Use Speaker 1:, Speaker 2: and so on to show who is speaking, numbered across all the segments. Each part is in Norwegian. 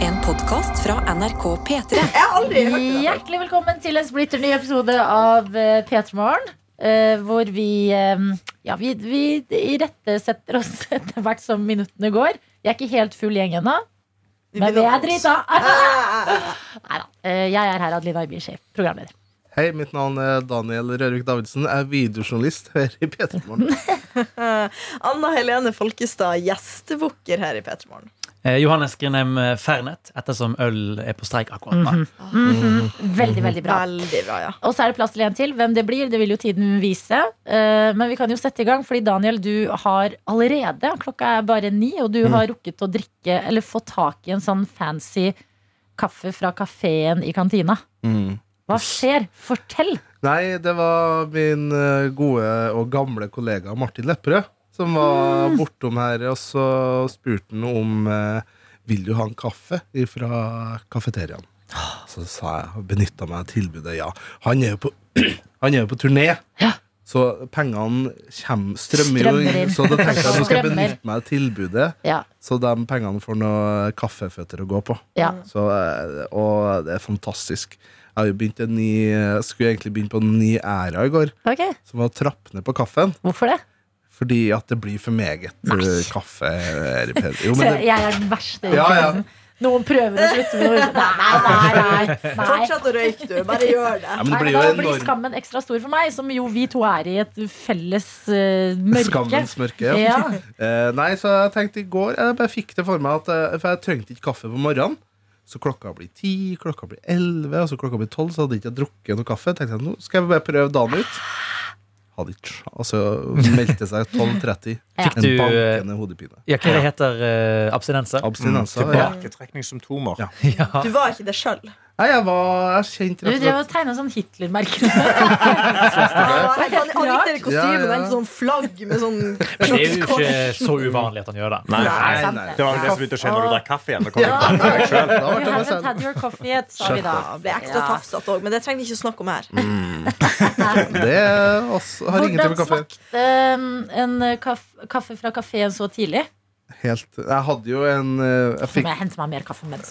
Speaker 1: En podkast fra NRK P3.
Speaker 2: Jeg har aldri hørt det. der.
Speaker 3: Hjertelig velkommen til en splitter ny episode av eh, P3 Morgen. eh, Hvor vi, eh, ja, vi, vi irettesetter oss etter hvert som minuttene går. Jeg er ikke helt full gjeng ennå, men vi er drita. Neida. Eh, Jeg er her, Adelina Ibishi, programleder.
Speaker 4: Hei, mitt navn er Daniel Rørvik Davidsen. Jeg er videojournalist her i P3 Morgen.
Speaker 2: Eh, Anna Helene Folkestad, gjestebukker her i Petermorgen.
Speaker 5: Eh, Johannes Grindheim eh, Fernet, ettersom øl er på streik akkurat nå.
Speaker 3: Veldig, veldig bra.
Speaker 2: Veldig bra, ja.
Speaker 3: Og så er det plass til en til. Hvem det blir, det vil jo tiden vise. Eh, Men vi kan jo sette i gang, fordi Daniel, du har allerede Klokka er bare ni, og du
Speaker 4: Mm.
Speaker 3: har rukket å drikke eller få tak i en sånn fancy kaffe fra kafeen i kantina. Hva skjer? Fortell!
Speaker 4: Nei, det var min eh, gode og gamle kollega Martin Lepperød som var
Speaker 3: Mm.
Speaker 4: bortom her, og så spurte han om eh, vil du ha en kaffe fra kafeteriaen. Så sa jeg og benytta meg av tilbudet. Ja, han er jo på, han er jo på turné.
Speaker 3: Ja.
Speaker 4: Så pengene kommer, strømmer,
Speaker 3: Strømmer
Speaker 4: jo
Speaker 3: inn.
Speaker 4: inn. Så da tenkte jeg nå skal jeg
Speaker 3: Strømmer.
Speaker 4: benytte meg av tilbudet.
Speaker 3: Ja,
Speaker 4: Så de pengene får noe kaffeføtter å gå på.
Speaker 3: ja.
Speaker 4: Så, eh, og det er fantastisk. Jeg har jo begynt en ny, eh, skulle egentlig begynne på en ny æra i går,
Speaker 3: Ok,
Speaker 4: som var å trappe ned på kaffen.
Speaker 3: Hvorfor det?
Speaker 4: Fordi at det blir for meget eh, kaffe. her i P-
Speaker 3: Se,
Speaker 4: Jo, men det,
Speaker 3: jeg er den verste. i
Speaker 4: Ja, ja.
Speaker 3: klassen. Noen prøver å slutte med noe. Nei, nei, nei. nei.
Speaker 2: Fortsett å røyke, du. Bare gjør det.
Speaker 4: ja, men det
Speaker 3: Nei,
Speaker 4: blir
Speaker 3: men
Speaker 4: jo
Speaker 3: da blir
Speaker 4: enormt
Speaker 3: skammen ekstra stor for meg, som jo vi to er i et felles eh, mørke.
Speaker 4: skammens mørke. Ja.
Speaker 3: Ja.
Speaker 4: Eh, nei, så jeg tenkte i går Jeg bare fikk det for meg at eh, For jeg trengte ikke kaffe på morgenen. Så klokka blir ti, klokka blir elleve, og så klokka blir tolv. Så hadde ikke jeg drukket noe kaffe. Tenkte jeg, nå skal jeg bare prøve dagen ut. Hadde ikke sj- Altså, meldte seg 12.30.
Speaker 5: Fikk
Speaker 4: En
Speaker 5: du eh,
Speaker 4: bankende hodepine.
Speaker 5: Ja, hva det heter eh, abstinenser?
Speaker 6: Mm. altså
Speaker 4: Abstinenser.
Speaker 5: mm,
Speaker 4: ja.
Speaker 6: Tilbaketrekningssymptomer.
Speaker 4: Ja.
Speaker 2: Du var ikke det sjøl.
Speaker 4: Nei, jeg var Jeg kjente
Speaker 3: Du
Speaker 4: rett og
Speaker 3: drev og
Speaker 4: slett
Speaker 3: tegna sånn Hitler-merke.
Speaker 2: Han han gikk ned i
Speaker 4: Ja, ja,
Speaker 2: kostyme
Speaker 4: ja.
Speaker 2: med en sånn flagg med sånn
Speaker 5: Men det er jo ikke så uvanlig at han gjør det.
Speaker 6: Nei,
Speaker 4: Nei,
Speaker 3: sant
Speaker 4: nei.
Speaker 6: Det var det som begynte å skje når du drakk kaffe igjen. Da kom det.
Speaker 4: Da ble jeg
Speaker 3: You
Speaker 4: meg
Speaker 3: haven't
Speaker 4: selv.
Speaker 3: had your coffee yet, sa vi da.
Speaker 2: Ja, ble ekstra tafsete òg, men det trenger vi ikke snakke om her.
Speaker 4: Det er også, har ingenting
Speaker 3: Hvordan
Speaker 4: med kaffe
Speaker 3: smakte um, en kaffe, kaffe fra kafeen så tidlig?
Speaker 4: Helt Jeg hadde jo en eh, Jeg
Speaker 3: Nå
Speaker 4: fikk
Speaker 3: må jeg hente meg mer kaffe mens.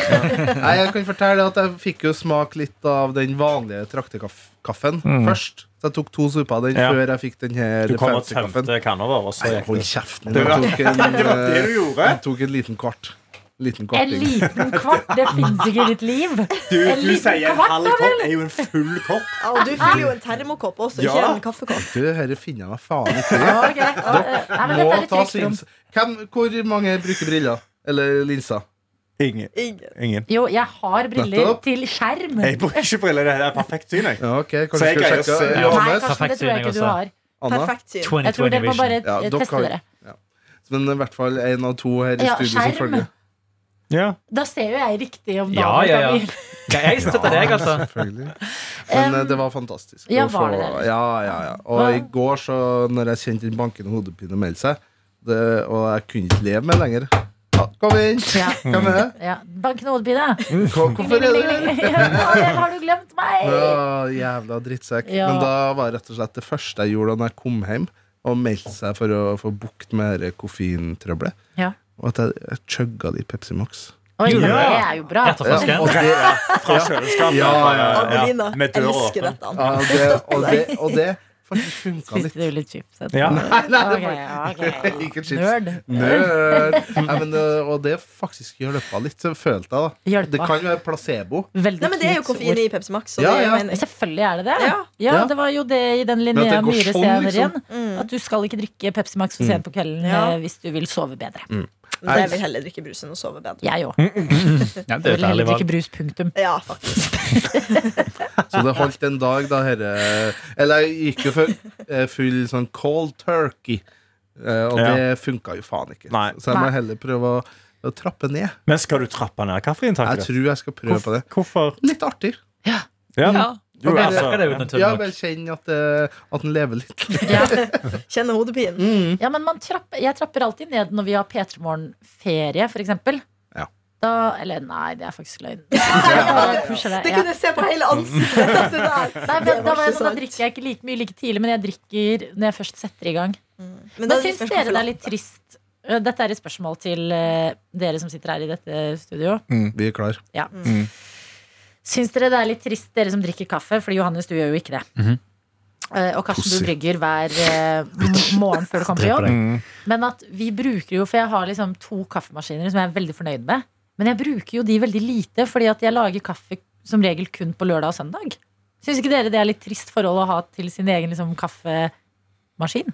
Speaker 4: Nei, jeg kan fortelle at jeg fikk jo smak litt av den vanlige traktekaffen først. Så jeg tok to supper av den
Speaker 6: Mm. Ja.
Speaker 4: før jeg fikk den her
Speaker 6: Du kom og
Speaker 4: fancy kaffen.
Speaker 6: tømte kanna vår, og så
Speaker 4: Nei,
Speaker 6: gikk
Speaker 4: hold
Speaker 6: det.
Speaker 4: kjeften.
Speaker 6: Det
Speaker 4: Jeg
Speaker 6: var-
Speaker 4: tok en,
Speaker 6: Det var det du
Speaker 4: eh,
Speaker 6: gjorde!
Speaker 4: jeg tok en liten kvart. Liten
Speaker 3: En
Speaker 4: kvarting.
Speaker 3: liten kvart, det fins ikke i ditt liv.
Speaker 6: Du,
Speaker 3: En
Speaker 6: du
Speaker 3: liten
Speaker 6: sier en
Speaker 3: kvart, da
Speaker 6: halv
Speaker 3: vel?
Speaker 6: kopp er jo en full kopp.
Speaker 2: Ja, og du fyller jo en termokopp også, ikke
Speaker 6: Ja.
Speaker 2: en kaffekopp.
Speaker 4: Du, herre finner jeg meg faen ikke i.
Speaker 3: Ok, eh, Nei, men
Speaker 4: Må
Speaker 3: dette er et
Speaker 4: ta
Speaker 3: trygt rom.
Speaker 4: syns... Hvem, hvor mange bruker briller? Eller linser?
Speaker 6: Ingen.
Speaker 2: Ingen.
Speaker 6: Ingen.
Speaker 3: Jo, jeg har briller
Speaker 4: Nettopp.
Speaker 3: til skjerm.
Speaker 6: Jeg bruker ikke briller. Det er perfekt syn, jeg.
Speaker 4: Ja, ok,
Speaker 6: Så
Speaker 4: kanskje
Speaker 6: jeg
Speaker 4: vi skal
Speaker 6: greier å
Speaker 4: sjekke
Speaker 6: se-
Speaker 3: Nei,
Speaker 4: Johannes?
Speaker 3: Karsten, det tror jeg ikke du har.
Speaker 4: Anna?
Speaker 2: Perfekt syn.
Speaker 3: Jeg tror
Speaker 5: 2020
Speaker 3: dere må
Speaker 5: vision.
Speaker 3: bare
Speaker 4: Ja,
Speaker 3: eh,
Speaker 4: dere
Speaker 3: teste
Speaker 4: har-
Speaker 3: dere.
Speaker 4: Men i hvert fall en av to her i
Speaker 3: Ja,
Speaker 4: studio som
Speaker 3: skjerm.
Speaker 4: følger.
Speaker 6: Ja.
Speaker 3: Da ser jo jeg riktig om
Speaker 5: Ja,
Speaker 3: dagen
Speaker 5: ja, ja.
Speaker 3: blir-
Speaker 5: Ja, jeg støtter deg, altså.
Speaker 4: Selvfølgelig. Men eh, det var fantastisk.
Speaker 3: ja,
Speaker 4: å
Speaker 3: var det
Speaker 4: få-
Speaker 3: det?
Speaker 4: Ja, ja, ja. Og
Speaker 3: Hva-
Speaker 4: i går, så når jeg kjente den bankende hodepinen melde seg, det, og jeg kunne ikke leve med det lenger ja, Kom inn!
Speaker 3: Ja.
Speaker 4: Hvem er det?
Speaker 3: Ja. Bank nå, Odbine.
Speaker 4: Kom- Mm. Hvorfor er det der?
Speaker 3: Har du glemt meg?
Speaker 4: Ja, jævla drittsekk.
Speaker 3: Ja.
Speaker 4: Men da var det rett og slett det første jeg gjorde da jeg kom hjem, og meldte seg for å få bukt med det koffeintrøbbelet.
Speaker 3: Ja.
Speaker 4: Og at jeg, jeg chugga litt Pepsi Max.
Speaker 3: Oi, men
Speaker 6: Ja.
Speaker 3: det er jo bra.
Speaker 5: Rett og slett.
Speaker 4: og det, ja,
Speaker 6: Fra kjøleskapet.
Speaker 4: Ja, ja,
Speaker 6: bare,
Speaker 2: Adelina
Speaker 6: Med døra
Speaker 2: elsker
Speaker 6: åpen.
Speaker 2: dette.
Speaker 4: og det, og det, og det faktisk funka litt.
Speaker 3: Spiste du litt chips? etterpå?
Speaker 6: Ja.
Speaker 4: Nei, nei, det var
Speaker 3: Ok, ok.
Speaker 4: Ikke chips.
Speaker 3: Nerd.
Speaker 4: Nerd. Nei, men, øh, og det faktisk hjelpa litt, så følte jeg. da
Speaker 3: Hjelpa.
Speaker 4: Det kan jo være placebo.
Speaker 3: Veldig
Speaker 2: Nei, men det er jo
Speaker 3: fint
Speaker 2: koffein
Speaker 3: ord.
Speaker 2: i Pepsi Max. Så
Speaker 4: Ja,
Speaker 2: det er
Speaker 4: ja.
Speaker 2: mening.
Speaker 3: Selvfølgelig er det det.
Speaker 2: Ja.
Speaker 4: Ja.
Speaker 3: det var jo det i den
Speaker 4: Men at
Speaker 3: Linnea
Speaker 4: det går
Speaker 3: Myhre
Speaker 4: sånn,
Speaker 3: serien.
Speaker 4: liksom.
Speaker 3: At du skal ikke drikke Pepsi Max for sent på kvelden
Speaker 2: Mm. Ja.
Speaker 3: eh, hvis du vil sove bedre.
Speaker 2: Men jeg vil heller drikke brus enn å sove bedre.
Speaker 3: Jeg
Speaker 4: Mm.
Speaker 3: òg. Jeg
Speaker 5: Ja, det er
Speaker 3: vil
Speaker 5: et ærlig
Speaker 3: heller drikke
Speaker 5: valg.
Speaker 3: brus, punktum.
Speaker 2: Ja, faktisk.
Speaker 4: Så det holdt en dag, da herre Eller jeg gikk jo for eh, full sånn cold turkey, eh, og
Speaker 6: Ja.
Speaker 4: det funka jo faen ikke.
Speaker 6: Nei.
Speaker 4: Så jeg må
Speaker 3: Nei.
Speaker 4: heller prøve å, å trappe ned.
Speaker 6: Men skal du trappe ned
Speaker 4: Jeg
Speaker 6: kaffeinntaket?
Speaker 4: tror jeg skal prøve på det.
Speaker 6: Hvorfor?
Speaker 4: Litt artig.
Speaker 6: Ja.
Speaker 5: Ja.
Speaker 6: Jo,
Speaker 5: Jeg
Speaker 6: altså,
Speaker 5: støtter deg,
Speaker 6: ja.
Speaker 5: naturlig
Speaker 4: Ja,
Speaker 5: nok.
Speaker 4: bare kjenne at, eh, at den lever litt.
Speaker 3: Ja.
Speaker 2: Kjenner hodepinen.
Speaker 4: Mm.
Speaker 3: Ja, men man trapper, jeg trapper alltid ned når vi har P3 Morgen-ferie, f.eks.
Speaker 4: Ja.
Speaker 3: Da, eller nei, det er faktisk løgn. Jeg pusher det,
Speaker 2: Det
Speaker 3: ja.
Speaker 2: kunne jeg se på hele ansiktet. at det der-
Speaker 3: Nei,
Speaker 2: Det
Speaker 3: men,
Speaker 2: var
Speaker 3: da, var jeg,
Speaker 2: ikke
Speaker 3: sånn, da
Speaker 2: sant.
Speaker 3: drikker jeg ikke like mye like tidlig, men jeg drikker når jeg først setter i gang.
Speaker 2: Men
Speaker 3: Men
Speaker 2: da
Speaker 3: syns
Speaker 2: drikker jeg
Speaker 3: dere det er
Speaker 2: kaffe
Speaker 3: litt trist Eh, Dette er et spørsmål til eh, dere som sitter her i dette studio.
Speaker 4: Vi er klar.
Speaker 3: Ja.
Speaker 6: Mm.
Speaker 3: Syns dere det er litt trist, dere som drikker kaffe? Fordi Johannes, du gjør jo ikke det.
Speaker 5: Mhm.
Speaker 3: Eh, Og Karsten,
Speaker 4: Pussy.
Speaker 3: du brygger hver eh, m- morgen før du kommer til
Speaker 5: Dreper
Speaker 3: jobb.
Speaker 5: deg.
Speaker 3: Men at vi bruker jo, for jeg har liksom to kaffemaskiner som jeg er veldig fornøyd med. Men jeg bruker jo de veldig lite, fordi at jeg lager kaffe som regel kun på lørdag og søndag. Syns ikke dere det er litt trist forhold å ha til sin egen liksom, kaffemaskin?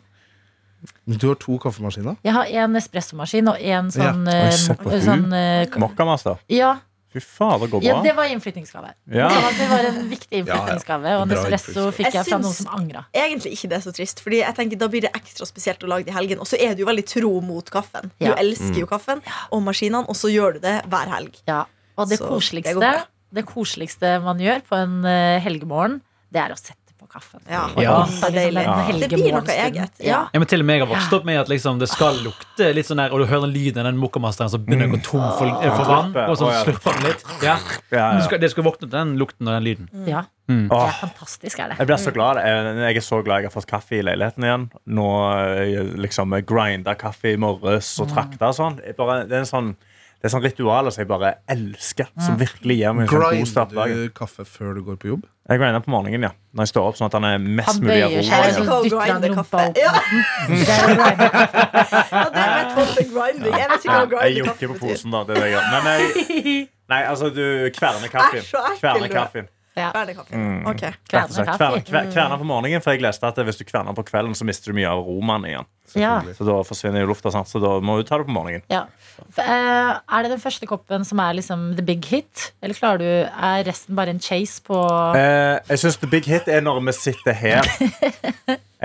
Speaker 4: Du har to kaffemaskiner?
Speaker 3: Jeg har en espressomaskin og en
Speaker 4: Ja.
Speaker 3: sånn,
Speaker 6: Oi, såpass.
Speaker 3: eh, sånn eh, ka-
Speaker 6: Mokkamaster.
Speaker 3: ja,
Speaker 6: Fy faen, det går bra.
Speaker 3: ja, det var innflyttingsgave.
Speaker 6: Ja.
Speaker 3: Det, var, det var en viktig
Speaker 4: Ja, ja.
Speaker 3: innflyttingsgave, og en
Speaker 4: Bra
Speaker 3: espresso
Speaker 4: innflyttingsgave.
Speaker 3: fikk jeg
Speaker 2: Jeg
Speaker 3: fra noen
Speaker 2: syns-
Speaker 3: som angra.
Speaker 2: Egentlig ikke det er så trist, Fordi jeg tenker da blir det ekstra spesielt å lage det i helgen. Og så er du jo veldig tro mot kaffen. Du
Speaker 3: Ja.
Speaker 2: elsker
Speaker 6: Mm.
Speaker 2: jo kaffen og maskinene, og så gjør du det hver helg.
Speaker 3: Ja. Og det
Speaker 2: Så det går
Speaker 3: koseligste,
Speaker 2: bra.
Speaker 3: det koseligste man gjør på en eh, helgemorgen, det er å sette på liksom kaffen.
Speaker 2: Ja,
Speaker 5: Ja.
Speaker 2: Åh, det er deilig.
Speaker 3: Ja.
Speaker 2: Det blir noe eget. Ja.
Speaker 5: Ja, men til og med jeg har vokst opp med at liksom, det skal lukte litt sånn der, og du hører den lyden av den mokkamasteren som begynner å gå tom for, eh, for vann. Og så
Speaker 6: Å, ja.
Speaker 5: slurper den litt. Ja.
Speaker 6: Ja,
Speaker 5: Du
Speaker 6: ja.
Speaker 5: skal, det skal våkne til den lukten og den lyden.
Speaker 2: Mm.
Speaker 3: Ja, det er
Speaker 6: Åh,
Speaker 3: fantastisk, er det.
Speaker 6: jeg blir så glad. Jeg jeg er så glad jeg har fått kaffe i leiligheten igjen. Nå eh, jeg liksom grinda kaffe i morges og trakta og sånn. Jeg Bare, det er en sånn det er sånn ritualer som jeg bare elsker. Som virkelig gir meg en sånn god start
Speaker 4: Grinder
Speaker 6: på dagen.
Speaker 4: du kaffe før du går på jobb?
Speaker 6: Jeg grinder på morgenen, ja. Når jeg står opp, sånn at han er mest
Speaker 3: Han
Speaker 6: mulig
Speaker 3: bøyer seg, liksom. og
Speaker 6: rolig.
Speaker 3: så
Speaker 2: Cold
Speaker 3: dytter han
Speaker 2: grinder
Speaker 3: rumpa
Speaker 2: kaffe.
Speaker 3: opp.
Speaker 2: Ja.
Speaker 3: Det er jo grinder kaffe.
Speaker 2: Ja, det er mitt forhold til grinding. Jeg vet ikke
Speaker 6: Ja,
Speaker 2: hva
Speaker 6: jeg
Speaker 2: grinding
Speaker 6: jokker
Speaker 2: kaffe
Speaker 6: på
Speaker 2: betyr.
Speaker 6: posen, da. Det er det jeg gjør. Men jeg, nei, altså, du kverner kaffen.
Speaker 2: Æsj, så ekkel
Speaker 6: Kverner
Speaker 2: du er.
Speaker 6: kaffen.
Speaker 2: Kverner kaffe.
Speaker 6: Mm.
Speaker 2: Ok.
Speaker 6: Rett og
Speaker 3: Kverner
Speaker 6: slett. Kverner,
Speaker 3: kaffe.
Speaker 6: kver- kverner på morgenen, for jeg leste at hvis du kverner på kvelden, så mister du mye av romaen igjen.
Speaker 3: Ja.
Speaker 4: Selvfølgelig.
Speaker 6: Så da forsvinner jo lufta, sant? så da må du ta det på morgenen.
Speaker 3: Ja. F- eh, Er det den første koppen som er liksom the big hit? Eller klarer du, er resten bare en chase på
Speaker 6: Eh, jeg syns the big hit er når vi sitter her.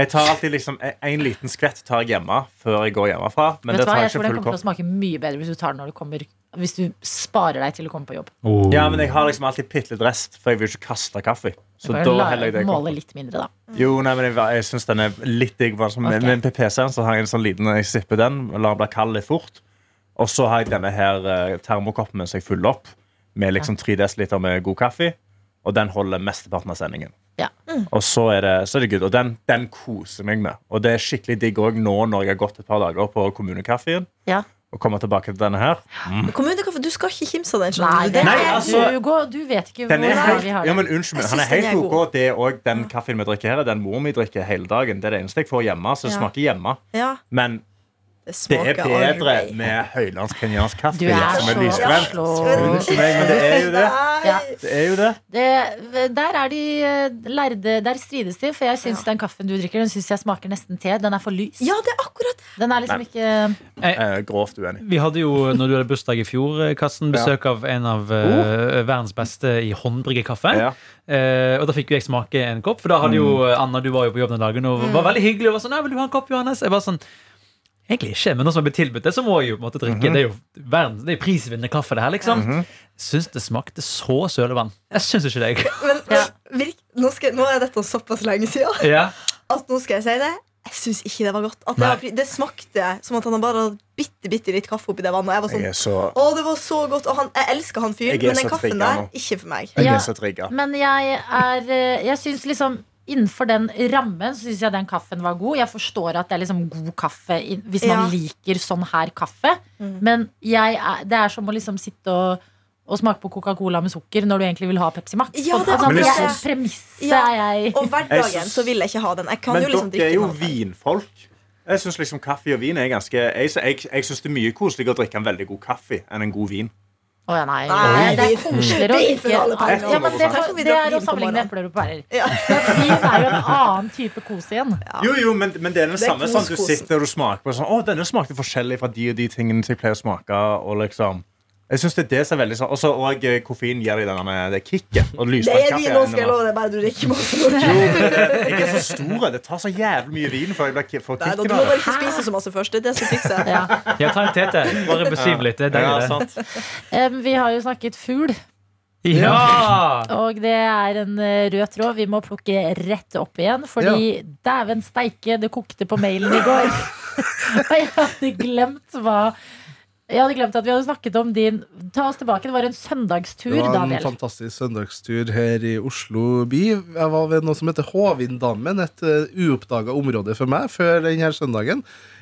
Speaker 6: Jeg tar alltid liksom en- En liten skvett tar jeg hjemme før jeg går hjemmefra. Men
Speaker 3: Vet du hva,
Speaker 6: det tar jeg
Speaker 3: jeg tror
Speaker 6: ikke
Speaker 3: den
Speaker 6: full
Speaker 3: kommer til å
Speaker 6: kopp.
Speaker 3: smake mye bedre hvis du tar den når du kommer Hvis du sparer deg til du kommer på jobb.
Speaker 5: Oh.
Speaker 6: Ja, men jeg har liksom alltid bitte litt rest, for jeg vil ikke kaste kaffe. Så
Speaker 3: Bare
Speaker 6: da
Speaker 3: la-
Speaker 6: heller jeg det i koppen.
Speaker 3: Måle litt mindre, da.
Speaker 6: Jo, nei, men jeg, jeg syns den er litt digg. bare som-
Speaker 3: Ok.
Speaker 6: Med, med PC-en så har jeg en sånn liten Jeg sipper den, lar den bli kald litt fort. Og så har jeg denne her eh, termokoppen mens jeg fyller opp med liksom 3 dl med god kaffe. Og den holder mesteparten av sendingen.
Speaker 3: Ja.
Speaker 6: Og så er det, så er det good. Og den, den koser meg med. Og det er skikkelig digg òg nå når jeg har gått et par dager på kommunekaffen.
Speaker 3: Ja.
Speaker 6: Og kommer tilbake til denne her.
Speaker 2: Men Kommunekaffe, du skal ikke kimse av den.
Speaker 3: Nei,
Speaker 2: skjønner du.
Speaker 3: det
Speaker 2: Den
Speaker 6: Nei,
Speaker 2: er-
Speaker 3: er,
Speaker 6: altså-
Speaker 3: du, går, du vet ikke hvor
Speaker 6: Den er
Speaker 3: bra
Speaker 6: helt,
Speaker 3: vi har
Speaker 6: ja,
Speaker 3: det.
Speaker 6: men unnskyld meg,
Speaker 2: Jeg
Speaker 6: han er
Speaker 2: synes den
Speaker 6: helt
Speaker 2: er
Speaker 6: OK.
Speaker 2: god.
Speaker 6: Det er også den kaffen vi drikker her, er den moren vi drikker hele dagen. Det er det eneste jeg får hjemme. Så det
Speaker 2: Ja.
Speaker 6: smaker hjemme.
Speaker 2: Ja,
Speaker 6: Men
Speaker 2: det
Speaker 6: Det er
Speaker 2: smaker
Speaker 6: bedre
Speaker 2: arbeid.
Speaker 6: med høylandsk kenyansk kaffe
Speaker 3: Du er
Speaker 6: som er
Speaker 3: så
Speaker 6: lysbrent.
Speaker 3: Oslo.
Speaker 6: Unnskyld meg, men det er jo det.
Speaker 2: Nei.
Speaker 3: Ja.
Speaker 6: Det er jo det.
Speaker 3: Det, der er de eh, lærde Der strides de, for jeg syns den kaffen du drikker, den synes jeg smaker nesten te. Den er for lys.
Speaker 2: ja, det er akkurat det.
Speaker 3: Den er liksom ikke
Speaker 6: Eh, grovt uenig.
Speaker 5: Vi hadde jo, når du hadde bursdag i fjor, eh, Karsten, besøk av en av eh, verdens beste i håndbryggekaffe.
Speaker 6: Oh. Ja. Mm.
Speaker 5: Eh, og da fikk jo jeg smake en kopp, for da hadde jo eh, Anna, du var jo på jobb den dagen, og var veldig hyggelig og var sånn 'Nei, vil du ha en kopp, Johannes?' Jeg var sånn Egentlig ikke, men nå som jeg ble tilbudt det, så må jeg jo på en måte drikke.
Speaker 6: Mm-hmm.
Speaker 5: Det er jo verdens, det er prisvinnende kaffe, det her, liksom. Syns det smakte så sølevann. Jeg syns ikke det. jeg.
Speaker 2: Men, men virk, nå, skal, nå er dette såpass lenge siden
Speaker 5: Ja.
Speaker 2: at nå skal jeg si det. Jeg syns ikke det var godt. At det,
Speaker 5: Nei.
Speaker 2: var, pri- det smakte som at han hadde bare hadde bitte, bitte litt kaffe oppi det vannet. Jeg var
Speaker 6: Jeg
Speaker 2: sånn
Speaker 6: er så,
Speaker 2: Å, det var så godt! Og han, jeg elsker han fyren,
Speaker 6: Jeg er
Speaker 2: men den
Speaker 6: så
Speaker 2: kaffen
Speaker 6: trigga
Speaker 2: der,
Speaker 6: nå.
Speaker 2: ikke for meg.
Speaker 6: jeg
Speaker 3: Ja.
Speaker 6: er så trigga.
Speaker 3: Men jeg er eh, Jeg syns liksom Innenfor den rammen så syns jeg den kaffen var god. Jeg forstår at det er liksom god kaffe i- hvis man
Speaker 2: Ja. Mm.
Speaker 3: liker sånn her kaffe. Men jeg er, det er som å liksom sitte og, og smake på Coca-Cola med sukker når du egentlig vil ha Pepsi Max.
Speaker 2: Ja, det er
Speaker 3: altså,
Speaker 6: akkurat
Speaker 3: jeg,
Speaker 2: det.
Speaker 3: premisset
Speaker 2: Ja.
Speaker 3: er jeg
Speaker 2: Og
Speaker 6: Jeg
Speaker 2: hverdagen
Speaker 6: syns-
Speaker 2: så vil jeg ikke ha den. Jeg kan
Speaker 6: Men
Speaker 2: jo liksom
Speaker 6: dere
Speaker 2: drikke
Speaker 6: er jo
Speaker 2: den.
Speaker 6: vinfolk. Jeg syns liksom kaffe og vin er ganske Jeg, jeg, jeg synes det er mye koseligere å drikke en veldig god kaffe enn en god vin.
Speaker 3: Å ja, nei.
Speaker 2: Nei,
Speaker 3: Det er koseligere å
Speaker 2: det er
Speaker 3: ikke
Speaker 2: for alle penger.
Speaker 3: ja, men det,
Speaker 2: Her kan vi
Speaker 3: det
Speaker 2: dra
Speaker 3: er å
Speaker 2: vin på
Speaker 3: sammenligne
Speaker 2: morgenen.
Speaker 3: epler og pærer.
Speaker 2: Ja.
Speaker 3: Men Vin er jo en annen type kos igjen.
Speaker 6: Jo, jo, men, men det er den
Speaker 2: er
Speaker 6: samme sånn du
Speaker 2: koskosen.
Speaker 6: sitter og smaker på sånn Å, denne smakte forskjellig fra de og de tingene som jeg pleier å smake. Og liksom jeg synes det er det som er veldig sånn Og så og, eh, koffein gir deg denne, det kicket. Og
Speaker 2: Det
Speaker 6: lysbrent
Speaker 2: er
Speaker 6: kaffe
Speaker 2: vin
Speaker 6: er
Speaker 2: nå,
Speaker 6: enda
Speaker 2: skal jeg
Speaker 6: mer.
Speaker 2: love deg, bare du drikker masse.
Speaker 6: Jeg er så stor. Det tar så jævlig mye vin før jeg blir ki- får
Speaker 2: Nei, da, du
Speaker 6: kicken
Speaker 2: må
Speaker 6: av
Speaker 2: bare
Speaker 6: det.
Speaker 2: ikke spise så masse først. Det er det som fikser det.
Speaker 3: Ja.
Speaker 5: ja, ta en tete. Bare besvim litt. Det er
Speaker 6: Ja,
Speaker 5: deilig, det.
Speaker 6: sant.
Speaker 3: Em, vi har jo snakket fugl,
Speaker 5: Ja!
Speaker 3: og det er en eh, rød tråd vi må plukke rett opp igjen. Fordi dæven steike, det kokte på mailen i går. Og jeg hadde glemt hva Jeg hadde glemt at vi hadde snakket om din Ta oss tilbake, det var en søndagstur,
Speaker 4: Det var en
Speaker 3: Daniel.
Speaker 4: fantastisk søndagstur her i Oslo by. Jeg var ved noe som heter Håvinddammen, et uh, uoppdaga område for meg før denne søndagen.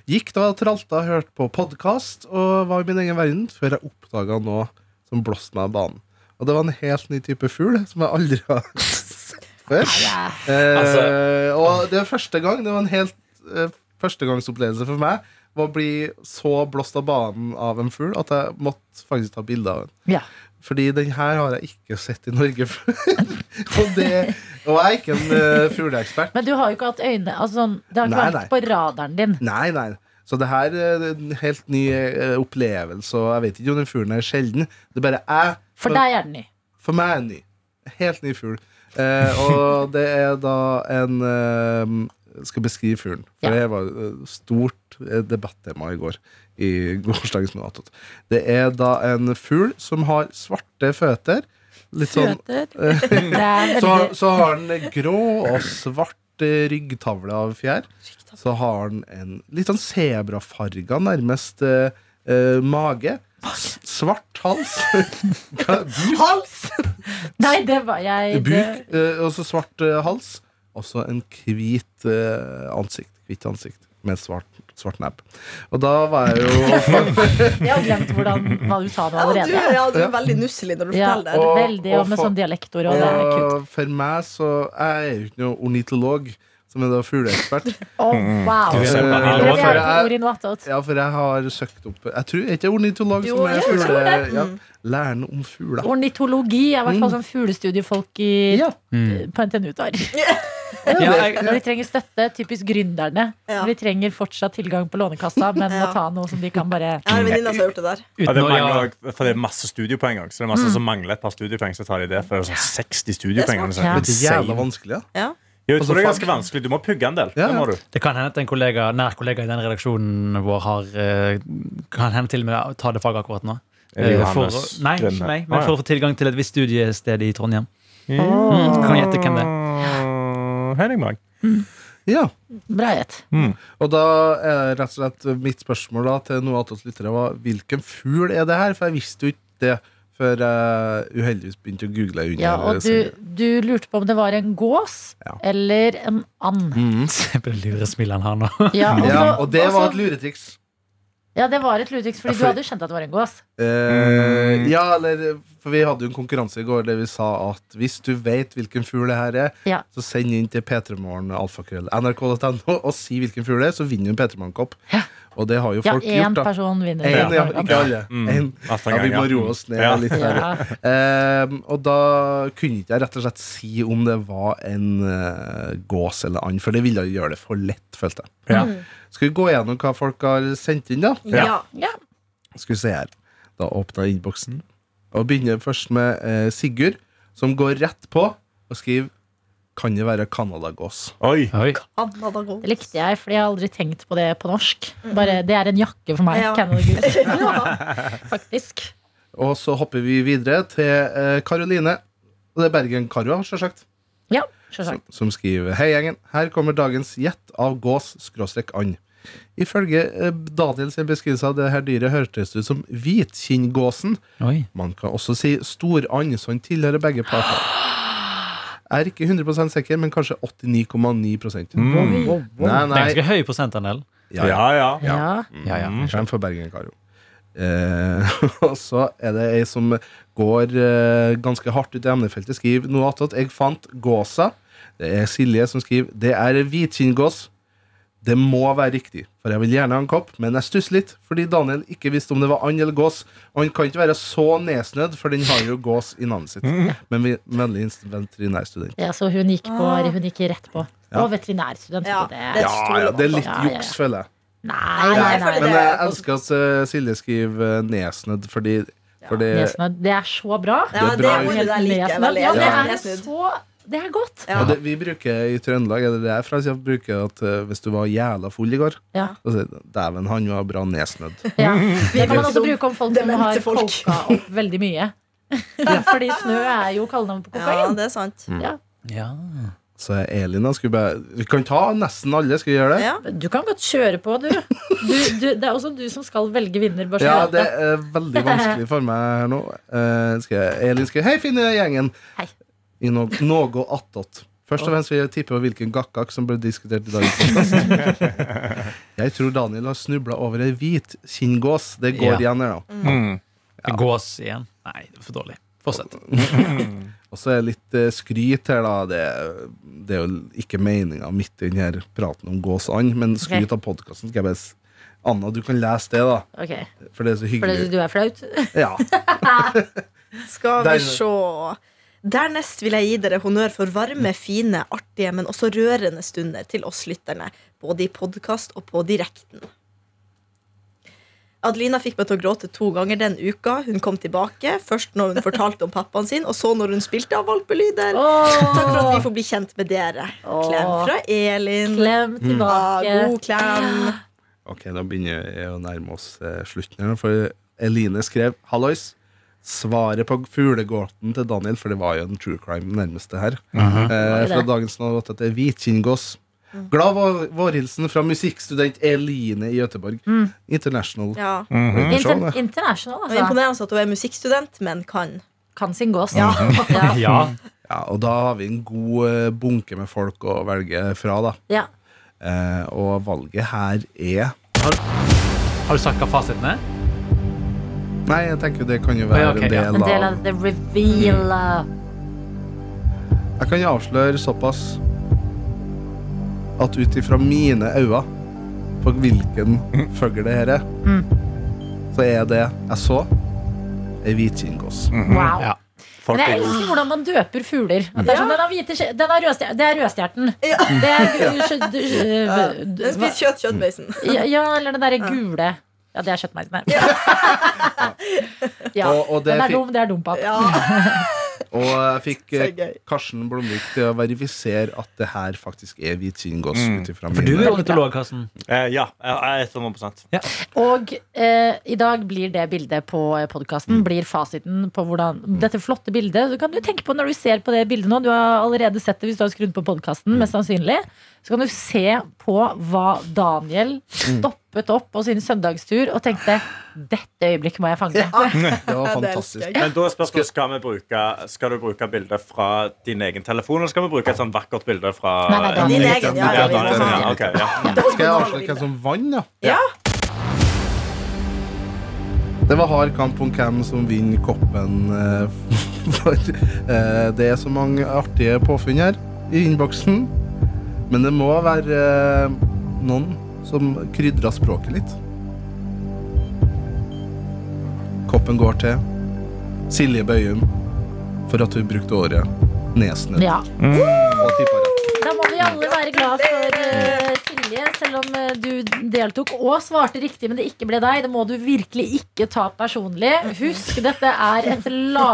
Speaker 4: Gikk da og tralta, hørte på podkast og var i min egen verden før jeg oppdaga noe som blåste meg av banen. Og det var en helt ny type fugl som jeg aldri har sett før. Eh, og det var første gang Det var en helt eh, førstegangsopplevelse for meg. Var å bli så blåst av banen av en fugl at jeg måtte faktisk ta bilde av den.
Speaker 3: Ja.
Speaker 4: Fordi den her har jeg ikke sett i Norge før. og, det, og jeg er ikke en eh, fugleekspert.
Speaker 3: Men du har jo ikke hatt øyne altså, sånn, Det har ikke
Speaker 4: Nei,
Speaker 3: vært på radaren din.
Speaker 4: Nei, nei. Så det her er en helt ny eh, opplevelse, og jeg vet ikke om den fuglen er sjelden. Det er bare jeg.
Speaker 3: For deg er den ny.
Speaker 4: For meg er den ny. Helt ny fugl. Eh, og det er da en eh, Skal beskrive fuglen. For
Speaker 3: Ja.
Speaker 4: det var eh, stort eh, debattema i går. I gårsdagens Noatot. Det er da en fugl som har svarte føtter. Litt sånn
Speaker 3: Det er
Speaker 4: så,
Speaker 3: veldig
Speaker 4: så har den grå og svart eh, ryggtavle av fjær. Så har den en litt sånn sebrafarga, nærmest, eh, eh, mage. S- Svart hals. Buk.
Speaker 3: Nei, det var jeg det,
Speaker 4: Buk, eh, og så svart eh, hals. Og så en hvit eh, ansikt. Hvitt ansikt med et svart, svart nebb. Og da var jeg jo
Speaker 3: Jeg har glemt hvordan, hva du sa nå
Speaker 2: Ja, du,
Speaker 3: allerede.
Speaker 2: ja, du
Speaker 4: Ja.
Speaker 2: er veldig nusselig når du
Speaker 3: Ja,
Speaker 2: forteller det.
Speaker 4: Og-
Speaker 3: veldig, og med
Speaker 4: og
Speaker 3: sånn dialektord, og det er kult.
Speaker 4: Og for meg så Jeg er jo ikke noe ornitolog, som er da fugleekspert.
Speaker 3: Å, wow.
Speaker 5: Du er
Speaker 3: Så
Speaker 5: en
Speaker 3: bra.
Speaker 5: vanilj.
Speaker 3: Vi er
Speaker 4: Hvorfor
Speaker 3: på
Speaker 4: er-
Speaker 3: ord i Noatot.
Speaker 4: Ja, for jeg har søkt opp Jeg tror er ikke det ornitolog
Speaker 2: Jo,
Speaker 4: som er
Speaker 2: jeg tror det.
Speaker 4: fugle... sånn
Speaker 2: Mm.
Speaker 4: Ja, læren om fugler.
Speaker 3: Ornitologi er i hvert fall sånn fuglestudier i
Speaker 4: Mm. Ja.
Speaker 3: på NTNU tar.
Speaker 5: Ja, jeg,
Speaker 3: Når de trenger støtte, typisk gründerne.
Speaker 2: Ja.
Speaker 3: De trenger fortsatt tilgang på Lånekassa, men må
Speaker 2: Ja.
Speaker 3: ta noe som de kan bare
Speaker 2: Jeg har en venninne som har gjort det der.
Speaker 5: uten
Speaker 6: Ja, det,
Speaker 5: å- ja,
Speaker 6: mangler, for det er masse studiepoeng også, Så det er masse som mangler et par studiepoeng, så tar de det. For det er sånn 60
Speaker 2: Det er
Speaker 6: studiepoeng. eller
Speaker 3: smart.
Speaker 6: noe sånt.
Speaker 4: Det er jævla vanskelig, ja.
Speaker 2: Ja.
Speaker 6: Jeg
Speaker 4: Altså,
Speaker 6: tror det er
Speaker 4: fuck.
Speaker 6: ganske vanskelig. Du må pugge en del.
Speaker 4: Ja,
Speaker 6: Det
Speaker 4: ja.
Speaker 6: må du.
Speaker 5: det kan hende at en kollega, nær kollega i den redaksjonen vår har eh, Kan hende til og med ta det faget akkurat nå.
Speaker 6: Er det
Speaker 5: Eh,
Speaker 6: Johannes
Speaker 5: for, nei,
Speaker 6: Grønne?
Speaker 5: ikke meg, men
Speaker 6: Ah, ja.
Speaker 5: for å få tilgang til et visst studiested i Trondheim. Mm, kan gjette hvem det
Speaker 6: Ah.
Speaker 5: er.
Speaker 6: Mm, Henningmag.
Speaker 4: ja.
Speaker 3: Bra gjett.
Speaker 4: Og da er rett og slett mitt spørsmål da, til noen av oss lyttere var hvilken fugl er det her? For jeg visste jo ikke det før jeg uheldigvis begynte å google. Under,
Speaker 3: Ja, og du,
Speaker 4: sendingen.
Speaker 3: du lurte på om det var en gås
Speaker 4: Ja.
Speaker 3: eller en and.
Speaker 2: Mm.
Speaker 5: Se på det lure smilet han har nå.
Speaker 3: Ja, og
Speaker 4: ja,
Speaker 2: Altså,
Speaker 3: så-
Speaker 4: og det
Speaker 3: og
Speaker 4: var
Speaker 3: så-
Speaker 4: et luretriks.
Speaker 3: Ja, det var et luretriks, fordi
Speaker 4: Ja,
Speaker 3: du
Speaker 4: for-
Speaker 3: hadde skjønt at det var en gås.
Speaker 4: Eh, ja, eller For vi hadde jo en konkurranse i går der vi sa at hvis du vet hvilken fugl det her er,
Speaker 3: Ja.
Speaker 4: så send inn til p3morgen alfakrøll nrk.no og si hvilken fugl det er, så vinner du en P3morgen-kopp. Og det har jo
Speaker 3: Ja,
Speaker 4: folk
Speaker 3: én
Speaker 4: gjort, da.
Speaker 3: person vinner.
Speaker 4: En, ja,
Speaker 3: Ja.
Speaker 4: ikke alle. En.
Speaker 6: Atten
Speaker 4: Ja, vi må
Speaker 6: ganger.
Speaker 4: roe oss ned
Speaker 6: Mm. Ja.
Speaker 4: litt. Her.
Speaker 3: Ja.
Speaker 4: Ehm, og da kunne ikke jeg rett og slett si om det var en eh, gås eller and, for det ville jo gjøre det for lett, følte jeg.
Speaker 6: Ja.
Speaker 3: Mm.
Speaker 4: Skal vi gå gjennom hva folk har sendt inn, da?
Speaker 2: Ja.
Speaker 3: Ja.
Speaker 4: Skal vi se her. Da åpner jeg innboksen. Og begynner først med eh, Sigurd, som går rett på og skriver Kan det være Canada-gås?
Speaker 6: Oi.
Speaker 5: Oi.
Speaker 2: Anna da går.
Speaker 3: Det likte jeg, fordi jeg har aldri tenkt på det på norsk.
Speaker 4: Mm.
Speaker 3: Bare, Det er en jakke for meg,
Speaker 2: Ja.
Speaker 3: Canada Goose, faktisk.
Speaker 4: Og så hopper vi videre til eh, Karoline. Og det er Bergen-Karo, selvsagt.
Speaker 3: Ja, selvsagt.
Speaker 4: som skriver Hei gjengen, her kommer dagens gjett av gås skråstrek and. Ifølge eh, Daniel sin beskrivelse av det her dyret hørtes det ut som hvitkinngåsen.
Speaker 5: Oi.
Speaker 4: Man kan også si storand, så han tilhører begge parter. Jeg er ikke 100 sikker, men kanskje 89,9
Speaker 6: Mm.
Speaker 4: Nei,
Speaker 5: Det er
Speaker 4: nei.
Speaker 5: ganske høy prosentandel.
Speaker 4: Ja, ja.
Speaker 6: Ja, ja.
Speaker 3: Ja.
Speaker 5: Ja, ja.
Speaker 4: Skjerm for Bergen, Karo. Eh, og så er det ei som går eh, ganske hardt ut i emnefeltet. Skriv noe attåt. Jeg fant gåsa. Det er Silje som skriver. Det er hvitkinngås. Det må være riktig, for jeg vil gjerne ha en kopp, men jeg stusser litt fordi Daniel ikke visste om det var and eller gås, og han kan ikke være så nedsnødd, for den har jo gås i navnet sitt. Men vi- vennlig hilsen veterinærstudent.
Speaker 3: Ja, så hun gikk, på, hun gikk rett på.
Speaker 4: Ja.
Speaker 3: Og veterinærstudent.
Speaker 2: Ja.
Speaker 3: vet du Ah. Det.
Speaker 2: Det er et
Speaker 4: Ja, ja,
Speaker 2: stort
Speaker 4: det er litt
Speaker 3: Ja, ja, ja.
Speaker 4: juks, føler jeg.
Speaker 3: Nei, nei,
Speaker 2: Nei,
Speaker 3: nei.
Speaker 2: fordi
Speaker 4: Men
Speaker 2: det-
Speaker 4: jeg elsker at eh, Silje skriver nedsnødd, fordi, fordi
Speaker 3: Nesna, det er så bra.
Speaker 2: Ja,
Speaker 4: Det er bra.
Speaker 2: det ordet der liker jeg
Speaker 3: Nesna,
Speaker 2: veldig.
Speaker 3: ja, det
Speaker 2: Ja.
Speaker 3: er så Det er godt.
Speaker 2: Ja.
Speaker 4: Og det, vi bruker i Trøndelag er det det jeg fra, så jeg bruker at eh, hvis du var jævla full i går
Speaker 3: Ja.
Speaker 4: så sier jeg, Dæven, han var bra nesnødd.
Speaker 3: Ja. Det kan man også bruke om folk som
Speaker 2: Demente
Speaker 3: har
Speaker 2: folk.
Speaker 3: kolka opp veldig mye. Fordi snø er jo kallenavn på
Speaker 2: Ja,
Speaker 3: kokain.
Speaker 4: Mm.
Speaker 2: det er sant.
Speaker 3: Ja.
Speaker 5: Ja.
Speaker 4: Så Elina skulle bare Vi kan ta nesten alle, skal vi gjøre det?
Speaker 2: Ja.
Speaker 3: Du kan godt kjøre på, du. du, du det er også du som skal velge vinner. Bare så
Speaker 4: Ja,
Speaker 3: du
Speaker 4: det
Speaker 3: vet det.
Speaker 4: er veldig vanskelig for meg her nå. Eh, skal jeg, Elin skal Hei, finne gjengen!
Speaker 3: Hei.
Speaker 4: I no, noe attåt. Først og fremst vil jeg tippe på hvilken gakkak som ble diskutert i dagens podcast. Jeg tror Daniel har snubla over ei hvit kinngås. Det går
Speaker 5: Ja.
Speaker 4: igjen her, da.
Speaker 6: Mm.
Speaker 5: Gås igjen. Nei, det var for dårlig. Fortsett.
Speaker 4: Og så er det litt eh, skryt her, da. Det, det er jo ikke meninga midt i denne praten om gåsand, men skryt av podkasten skal jeg bare s- Anna, du kan lese det, da.
Speaker 3: Ok,
Speaker 4: For det er så
Speaker 3: Fordi
Speaker 4: hyggelig.
Speaker 3: du er flaut?
Speaker 4: Ja.
Speaker 2: Skal
Speaker 4: Der-
Speaker 2: vi se. Dernest vil jeg gi dere honnør for varme, fine, artige, men også rørende stunder til oss lytterne, både i podkast og på direkten. Adelina fikk meg til å gråte to ganger den uka hun kom tilbake. Først når hun fortalte om pappaen sin, og så når hun spilte av valpelyder. Takk for at vi får bli kjent med dere. Klem
Speaker 3: Åh.
Speaker 2: fra Elin.
Speaker 3: Klem
Speaker 2: Ah,
Speaker 3: tilbake.
Speaker 2: god klem.
Speaker 4: Ok, da begynner jeg å nærme oss eh, slutten her, for Eline skrev Hallois, svaret på fuglegåten til Daniel, for det var jo en true crime nærmeste her, eh, fra
Speaker 3: det?
Speaker 4: dagens nålåt etter Hvitkinngås. Glad vår- vårhilsen fra musikkstudent Eline i Gøteborg. International.
Speaker 2: Ja.
Speaker 4: Mm. Sånn,
Speaker 3: Inter international,
Speaker 2: Det var
Speaker 3: altså.
Speaker 2: imponerende at hun er musikkstudent, men kan.
Speaker 3: Kan sin gås. Ja. Ja.
Speaker 5: Ja.
Speaker 4: Ja, og da har vi en god eh, bunke med folk å velge fra, da.
Speaker 3: Ja.
Speaker 4: Eh, og valget her er
Speaker 5: Har du sagt hva fasiten er?
Speaker 4: Nei, jeg tenker det kan jo
Speaker 5: Nei,
Speaker 4: være
Speaker 5: ok,
Speaker 4: en
Speaker 5: ja.
Speaker 4: del,
Speaker 3: En del
Speaker 4: av
Speaker 3: av the reveal.
Speaker 4: Jeg kan avsløre såpass at ut ifra mine øyne på hvilken fugl det her er,
Speaker 3: Mm.
Speaker 4: så er det jeg så, ei hvitkinngås.
Speaker 5: Mm.
Speaker 3: Wow.
Speaker 5: Ja.
Speaker 6: Folk
Speaker 3: Men jeg
Speaker 6: er
Speaker 3: elsker hvordan man døper fugler. At det er sånn, den har hvite, skje- den har rødstjer- det er rødstjerten. Det er gu- skjø- du- skjø- du- Mm.
Speaker 2: Den spiser kjøtt, kjøttbeisen.
Speaker 3: Ja, ja, eller det derre gule. Ja, det er kjøttmeisen her. Ja.
Speaker 4: Og- og det
Speaker 3: den er
Speaker 4: fikk-
Speaker 3: dum, det er dum, papp.
Speaker 2: Ja,
Speaker 4: Og jeg fikk eh,
Speaker 2: Så gøy.
Speaker 4: Karsten Blomvik til å verifisere at det her faktisk er hvitkinngås. Ut ifra
Speaker 5: Mm. For du er
Speaker 4: mine.
Speaker 5: ornitolog, Karsten.
Speaker 6: Eh, ja, jeg er 100
Speaker 3: Og eh, i dag blir det bildet på podkasten Blir fasiten på hvordan dette flotte bildet. Du kan jo tenke på når du ser på det bildet nå. Du har allerede sett det hvis du har skrudd på podkasten. Mest sannsynlig Så kan du se på hva Daniel stoppet opp på sin søndagstur og tenkte Dette øyeblikket må jeg fange.
Speaker 4: Det var
Speaker 2: det
Speaker 4: fantastisk.
Speaker 2: elsker jeg.
Speaker 6: Men da er spørsmålet skal, vi bruke, skal du bruke bildet fra din egen telefon, eller skal vi bruke et sånn vakkert bilde fra
Speaker 3: Nei, nei, Daniel.
Speaker 2: Din egen, ja.
Speaker 6: Ja,
Speaker 2: ja,
Speaker 6: Daniel,
Speaker 2: ja,
Speaker 6: ja, ok, ja.
Speaker 4: Skal jeg avsløre hvem som vant, da?
Speaker 2: Ja.
Speaker 4: Det var hard kamp om hvem som vinner koppen. eh, For eh, det er så mange artige påfunn her i innboksen. Men det må være eh, noen som krydrer språket litt. Koppen går til Silje Bøyum for at hun brukte året Nesnø.
Speaker 3: Ja.
Speaker 4: Og tippa rett.
Speaker 3: Da må vi alle være glad for eh, Silje, selv om eh, du deltok og svarte riktig, men det ikke ble deg. Det må du virkelig ikke ta personlig. Husk, dette er et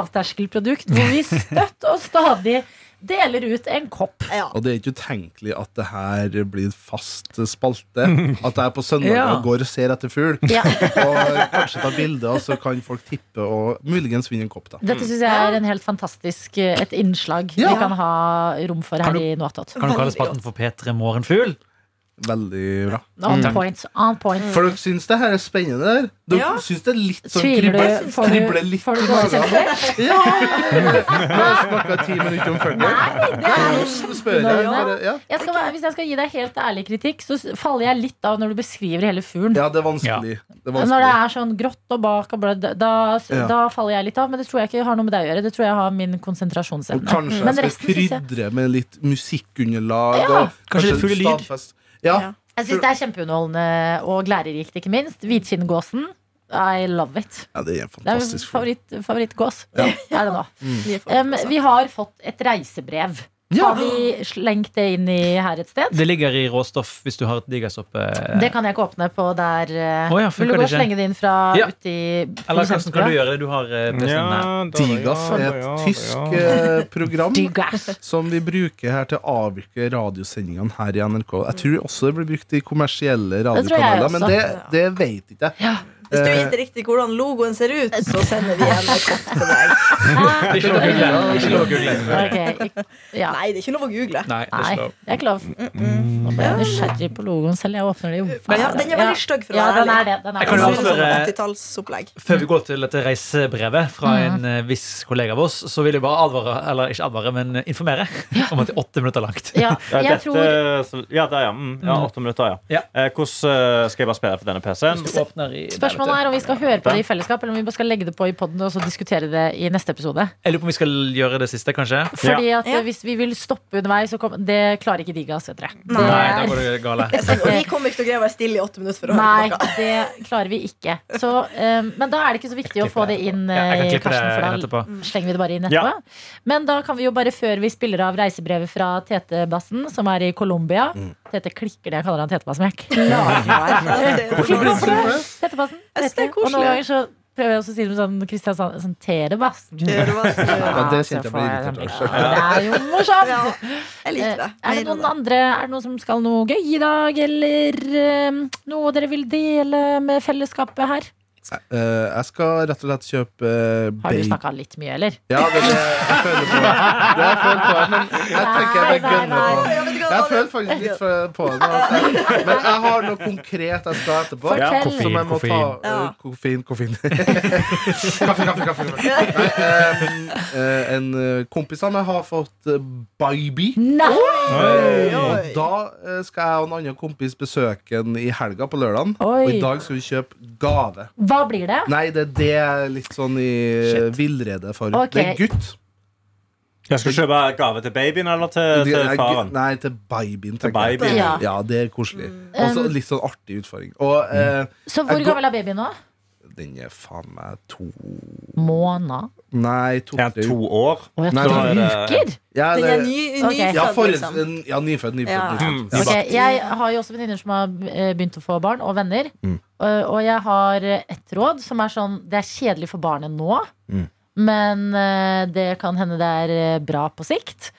Speaker 3: lavterskelprodukt hvor vi støtt og stadig deler ut en kopp.
Speaker 2: ja.
Speaker 4: Og det er ikke utenkelig at det her blir fast spalte. At jeg på søndager
Speaker 5: Ja.
Speaker 4: går og ser etter fugl.
Speaker 3: Ja.
Speaker 4: Og kanskje ta bilder, og så kan folk tippe og muligens vinne en kopp. da
Speaker 3: Dette syns jeg er en helt fantastisk eh, et innslag
Speaker 4: Ja.
Speaker 3: vi kan ha rom for
Speaker 5: Kan
Speaker 3: her
Speaker 5: du-
Speaker 3: i Noatot.
Speaker 5: Kan du kalle
Speaker 2: Veldig
Speaker 5: spalten for P3 Morgenfugl?
Speaker 4: Veldig bra.
Speaker 3: On points, on points.
Speaker 4: For dere syns det her er spennende? der Dere
Speaker 2: Ja.
Speaker 4: syns det er litt sånn
Speaker 3: Tviler du?
Speaker 4: kribler-
Speaker 3: Får
Speaker 4: kribler
Speaker 3: du,
Speaker 4: litt
Speaker 3: får du
Speaker 4: i
Speaker 3: dårlig
Speaker 4: magen?
Speaker 3: selvtillit?
Speaker 4: Ja! Nå har jeg snakka ti minutter om fugler. Nå spør jeg bare. Ja.
Speaker 3: Jeg skal, være- hvis jeg skal gi deg helt ærlig kritikk, så s- faller jeg litt av når du beskriver hele fuglen.
Speaker 4: ja, det er vanskelig. Det er
Speaker 3: Når det
Speaker 4: vanskelig.
Speaker 3: er sånn grått og bak og blødd, da,
Speaker 4: Ja.
Speaker 3: da faller jeg litt av. Men det tror jeg ikke har noe med deg å gjøre. Det tror jeg har min
Speaker 4: Og
Speaker 3: konsentrasjonsevne.
Speaker 4: kanskje
Speaker 3: Men
Speaker 4: jeg
Speaker 3: resten
Speaker 4: skal
Speaker 3: synes jeg-
Speaker 4: krydre med litt musikkunderlag.
Speaker 3: Ja.
Speaker 4: Og
Speaker 5: Kanskje litt fuglelyd.
Speaker 4: stadfest. Ja.
Speaker 2: Ja.
Speaker 3: Jeg syns det er kjempeunderholdende og lærerikt, ikke minst. Hvitkinngåsen. I love it.
Speaker 4: ja, det er en
Speaker 3: Det er
Speaker 4: fantastisk
Speaker 3: min
Speaker 4: fugl.
Speaker 3: favoritt, favorittgås. I don't know.
Speaker 2: Nye folk,
Speaker 3: Um,
Speaker 2: altså.
Speaker 3: vi har fått et reisebrev.
Speaker 4: Ja.
Speaker 3: Har vi slengt det inn i her et sted?
Speaker 5: Det ligger i råstoff hvis du har et digersopp. eh,
Speaker 3: Det kan jeg ikke åpne på der. eh,
Speaker 5: Å ja, funker
Speaker 3: Vil du
Speaker 5: det
Speaker 3: gå og
Speaker 5: ikke?
Speaker 3: slenge det inn fra
Speaker 5: Ja.
Speaker 3: uti
Speaker 5: Eller Karsten, kan du gjøre det? Du har eh, PC-en her.
Speaker 4: Digas er et tysk eh, program.
Speaker 3: Digas.
Speaker 4: som vi bruker her til å avvikle radiosendingene her i NRK. Jeg tror også det blir brukt i kommersielle
Speaker 3: tror jeg
Speaker 4: radiokanaler, men
Speaker 3: også.
Speaker 4: det, det vet ikke jeg.
Speaker 2: Hvis du gjetter riktig hvordan logoen ser ut, så sender vi en kopp til deg.
Speaker 5: Det er ikke lov å google. Ikke lov å google.
Speaker 3: Ok, ikk- ja.
Speaker 2: Nei, det er ikke lov å google.
Speaker 5: Nei, det er
Speaker 3: Nei,
Speaker 5: ikke lov.
Speaker 3: det er ikke lov. Nå ble jeg nysgjerrig på logoen selv. Jeg åpner det jo.
Speaker 2: Men ja, den er veldig stygg for å
Speaker 3: ja,
Speaker 2: være
Speaker 3: den er
Speaker 2: ærlig.
Speaker 3: det. Den
Speaker 5: Jeg
Speaker 3: er
Speaker 5: kan jo
Speaker 2: Sånn
Speaker 3: det.
Speaker 2: som
Speaker 5: avsløre-
Speaker 2: 80-tallsopplegg.
Speaker 5: Før vi går til dette reisebrevet fra
Speaker 3: Mm.
Speaker 5: en eh, viss kollega av oss, så vil jeg bare advare, eller ikke advare, men informere om at det er åtte minutter langt.
Speaker 3: Ja,
Speaker 6: Ja,
Speaker 3: jeg
Speaker 6: dette,
Speaker 3: tror
Speaker 6: så- ja, der, ja. Mm, ja åtte minutter, ja.
Speaker 5: Ja.
Speaker 6: Eh, hvordan eh, skal jeg bare spille for denne PC-en?
Speaker 5: Du åpner i-
Speaker 3: Spørsmålet er om vi skal høre på det i fellesskap, eller om vi bare skal legge det på i poden og så diskutere det i neste episode.
Speaker 5: Jeg lurer på om vi skal gjøre det siste, kanskje?
Speaker 3: Fordi at
Speaker 2: Ja.
Speaker 3: eh, hvis vi vil stoppe underveis, så kom, det klarer ikke de av oss, vet dere.
Speaker 2: Mm.
Speaker 3: Det-
Speaker 5: Nei, da går det gale.
Speaker 2: Det er sant, Og vi kommer ikke til å greie å være stille i åtte minutter for å
Speaker 3: Nei,
Speaker 2: høre på noe.
Speaker 3: det klarer vi ikke. Så, eh, men da er det ikke så viktig å få det inn,
Speaker 5: Ja, jeg
Speaker 3: eh,
Speaker 5: kan
Speaker 3: i
Speaker 5: klippe det
Speaker 3: Karsten,
Speaker 5: inn
Speaker 3: for da Mm.
Speaker 5: etterpå.
Speaker 3: slenger vi det bare inn etterpå.
Speaker 6: Ja.
Speaker 3: Men da kan vi jo bare, før vi spiller av reisebrevet fra Tete-bassen, som er i Colombia
Speaker 2: Mm.
Speaker 3: Tete klikker det jeg kaller han Tete-bassen, men jeg klarer ikke å være
Speaker 2: Det er jo
Speaker 3: Hvorfor
Speaker 2: bare-
Speaker 3: det? Tete-bassen.
Speaker 2: Jeg synes det er
Speaker 3: Tete. Og noen
Speaker 2: koselig.
Speaker 3: ganger så prøver jeg også å si det med sånn Kristiansand sånn Tete-bassen.
Speaker 2: Det er jo bare-
Speaker 4: Ja, det
Speaker 3: så
Speaker 4: kjente
Speaker 3: får
Speaker 4: jeg ble irritert
Speaker 3: sånn, ja, Det er jo morsomt!
Speaker 2: Ja, jeg liker det.
Speaker 3: Eh, Er det noen andre Er det noen som skal noe gøy i dag, eller eh, noe dere vil dele med fellesskapet her?
Speaker 4: Eh, jeg skal rett og slett kjøpe eh,
Speaker 3: Har du
Speaker 4: baby-
Speaker 3: snakka litt mye, eller?
Speaker 4: Ja, det er det jeg føler på. Det har jeg følt på, men jeg tenker jeg vil
Speaker 3: Nei, nei,
Speaker 4: gønne på.
Speaker 2: nei. Ja, vet du hva,
Speaker 4: Jeg
Speaker 2: Daniel?
Speaker 4: føler faktisk litt for- på det. nå. Men jeg har noe konkret jeg skal etterpå.
Speaker 3: Fortell. Ja,
Speaker 4: Som jeg må ta
Speaker 5: koffein,
Speaker 4: eh,
Speaker 2: Ja.
Speaker 4: Koffein, koffein. Kaffe, kaffe, kaffe. Nei, em, eh, en eh, kompis av meg har fått eh, baby.
Speaker 3: Nei!
Speaker 6: Oi.
Speaker 4: Eh, Og da eh, skal jeg og en annen kompis besøke den i helga på lørdagen. Og
Speaker 3: Oi.
Speaker 4: i dag skal vi kjøpe gave.
Speaker 3: Hva blir det?
Speaker 4: Nei, det, det er litt sånn i villrede for.
Speaker 3: Ok.
Speaker 4: Det er gutt.
Speaker 6: Jeg skal kjøpe gave til babyen eller til,
Speaker 4: Det
Speaker 6: Eh, til
Speaker 4: er gu-
Speaker 6: faren?
Speaker 4: Nei, til babyen,
Speaker 6: Til
Speaker 4: tenker jeg.
Speaker 6: babyen.
Speaker 3: Ja.
Speaker 4: Ja, det er koselig. Og så litt sånn artig utfordring. Og
Speaker 6: Mm.
Speaker 4: eh,
Speaker 3: Så hvor
Speaker 4: Jeg går-
Speaker 3: gammel er babyen nå?
Speaker 4: den er faen meg to
Speaker 3: Måned.
Speaker 4: Nei,
Speaker 6: Er han
Speaker 4: to-tre
Speaker 6: to år?
Speaker 3: Å, jeg
Speaker 4: Nei,
Speaker 3: tror
Speaker 4: da
Speaker 6: er
Speaker 3: det
Speaker 6: det-
Speaker 3: uker!
Speaker 4: Ja,
Speaker 2: Den er
Speaker 4: det-
Speaker 2: ny,
Speaker 3: Ok.
Speaker 2: nyfødt,
Speaker 4: ja, for,
Speaker 2: liksom.
Speaker 4: en- ja, nyfødt, nyfødt.
Speaker 2: Ja.
Speaker 4: nyfødt.
Speaker 6: Mm.
Speaker 3: Ok, jeg har jo også venninner som har eh, begynt å få barn, og venner.
Speaker 2: Mm.
Speaker 3: Eh, Og jeg har et råd som er sånn Det er kjedelig for barnet nå,
Speaker 4: Mm.
Speaker 3: men eh, det kan hende det er eh, bra på sikt.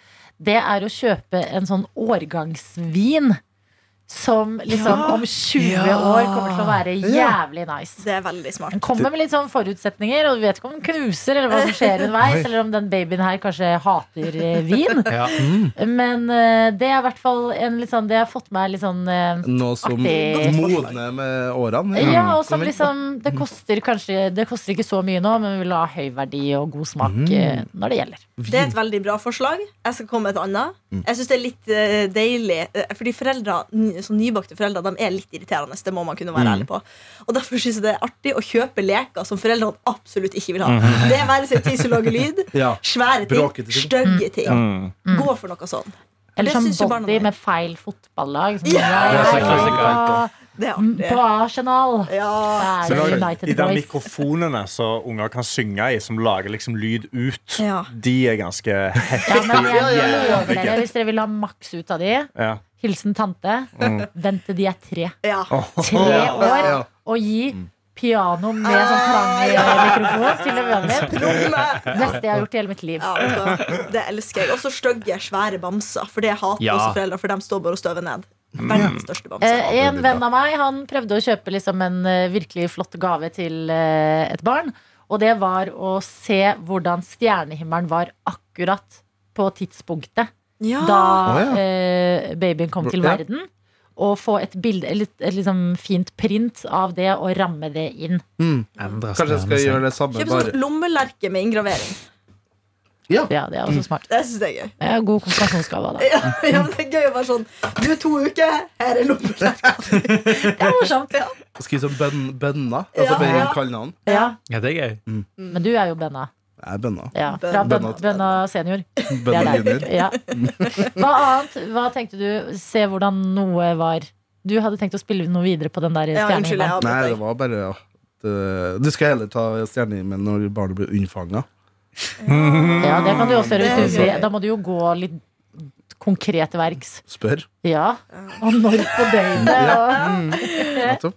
Speaker 3: Det er å kjøpe en sånn årgangsvin. Som liksom om 20 år kommer til å være jævlig nice.
Speaker 2: Det er veldig smart.
Speaker 3: Den kommer med litt sånn forutsetninger, og du vet ikke om den knuser, eller hva som skjer underveis, eller om den babyen her kanskje hater eh, vin.
Speaker 5: Ja.
Speaker 3: Men eh, det er i hvert fall en litt sånn Det har fått meg litt sånn eh,
Speaker 4: Noe som
Speaker 3: Artig.
Speaker 4: modner med årene.
Speaker 3: Ja, og som
Speaker 4: Som en-
Speaker 3: liksom Det koster kanskje Det koster ikke så mye nå, men vi vil ha høy verdi og god smak eh, når det gjelder.
Speaker 2: Det er et veldig bra forslag. Jeg skal komme med et annet.
Speaker 4: Mm.
Speaker 2: Jeg synes det er litt eh, deilig eh, Fordi foreldre, n- så Nybakte foreldre de er litt irriterende. Det må man kunne
Speaker 4: Mm.
Speaker 2: være ærlig på. Og Derfor synes jeg det er artig å kjøpe leker som foreldrene absolutt ikke vil ha. Det være seg ting som lager lyd,
Speaker 4: Mm. Ja.
Speaker 2: svære
Speaker 4: Bråkete
Speaker 2: ting,
Speaker 4: ting.
Speaker 2: stygge ting.
Speaker 6: Mm.
Speaker 2: Gå for noe sånn.
Speaker 3: Eller
Speaker 2: Det synes jo
Speaker 3: sånn
Speaker 2: barna
Speaker 3: body
Speaker 2: er.
Speaker 3: med feil fotballag. Sånn,
Speaker 2: Ja!
Speaker 3: ja,
Speaker 5: Det er så
Speaker 4: klassiker.
Speaker 2: Det er artig.
Speaker 3: På Arsenal.
Speaker 2: Ja.
Speaker 3: Er
Speaker 4: Så
Speaker 3: det
Speaker 4: da-
Speaker 3: United
Speaker 6: De der
Speaker 3: Boys.
Speaker 6: mikrofonene som unger kan synge i, som lager liksom lyd ut,
Speaker 2: Ja.
Speaker 6: de er ganske
Speaker 3: Ja, men jeg lover
Speaker 6: jævlig.
Speaker 3: dere, hvis dere vil ha maks ut av de,
Speaker 6: ja.
Speaker 3: hilsen tante, vent til de er tre.
Speaker 2: Ja.
Speaker 3: Tre år
Speaker 4: Ja.
Speaker 3: og gi piano med sånn klangmikrofon til vennen min.
Speaker 2: Tromme.
Speaker 3: Beste jeg har gjort i hele mitt liv.
Speaker 2: Ja, vet du hva. det elsker jeg. Og så stygge, svære bamser. For det hater
Speaker 5: Ja.
Speaker 2: også foreldre, for de står bare og støver ned. Verdens
Speaker 4: Mm.
Speaker 2: største bamse.
Speaker 3: Eh, en venn av meg han prøvde å kjøpe liksom en eh, virkelig flott gave til eh, et barn. Og det var å se hvordan stjernehimmelen var akkurat på tidspunktet
Speaker 2: Ja.
Speaker 3: da
Speaker 4: Ah. Å, ja.
Speaker 3: eh, babyen kom til
Speaker 4: Ja.
Speaker 3: verden. Og få et bilde, et, litt- et liksom fint print av det og ramme det inn.
Speaker 4: Kanskje jeg skal gjøre det samme,
Speaker 2: Kjøp
Speaker 4: bare
Speaker 2: sånn lommelerke med inngravering.
Speaker 4: Ja.
Speaker 3: Ja, Det er også smart.
Speaker 2: Det syns jeg er gøy.
Speaker 3: Det er god konfirmasjonsgave. da.
Speaker 2: Ja, ja, men det er gøy å være sånn Du er to uker, her er lommelerka.
Speaker 3: Det er morsomt. Ja.
Speaker 4: Skriv som bøn- bønna.
Speaker 2: Ja,
Speaker 4: sånn Altså bare
Speaker 2: ja.
Speaker 4: kall navn.
Speaker 5: Ja, det er gøy.
Speaker 3: Men du er jo bønna.
Speaker 4: Jeg er bønna.
Speaker 3: Ja. Fra
Speaker 4: Bønna.
Speaker 3: bønna, bønna senior. Det
Speaker 4: Bønna
Speaker 3: er deg.
Speaker 4: junior.
Speaker 3: Ja. Hva annet? Hva tenkte du? Se hvordan noe var. Du hadde tenkt å spille noe videre på den der
Speaker 2: Ja, unnskyld, jeg
Speaker 3: stjernehimmelen.
Speaker 2: avbryter
Speaker 4: Nei, det
Speaker 2: deg.
Speaker 4: var bare ja. Det- Du skal heller ta stjernehimmelen når barnet blir unnfanga.
Speaker 3: Ja, det kan du også gjøre. Hvis du,
Speaker 2: Det er
Speaker 3: vil. da må du jo gå litt konkret til verks.
Speaker 4: Spør.
Speaker 3: Ja. Og når på døgnet.
Speaker 4: Ja.
Speaker 3: Og.
Speaker 4: Mm. Nettopp.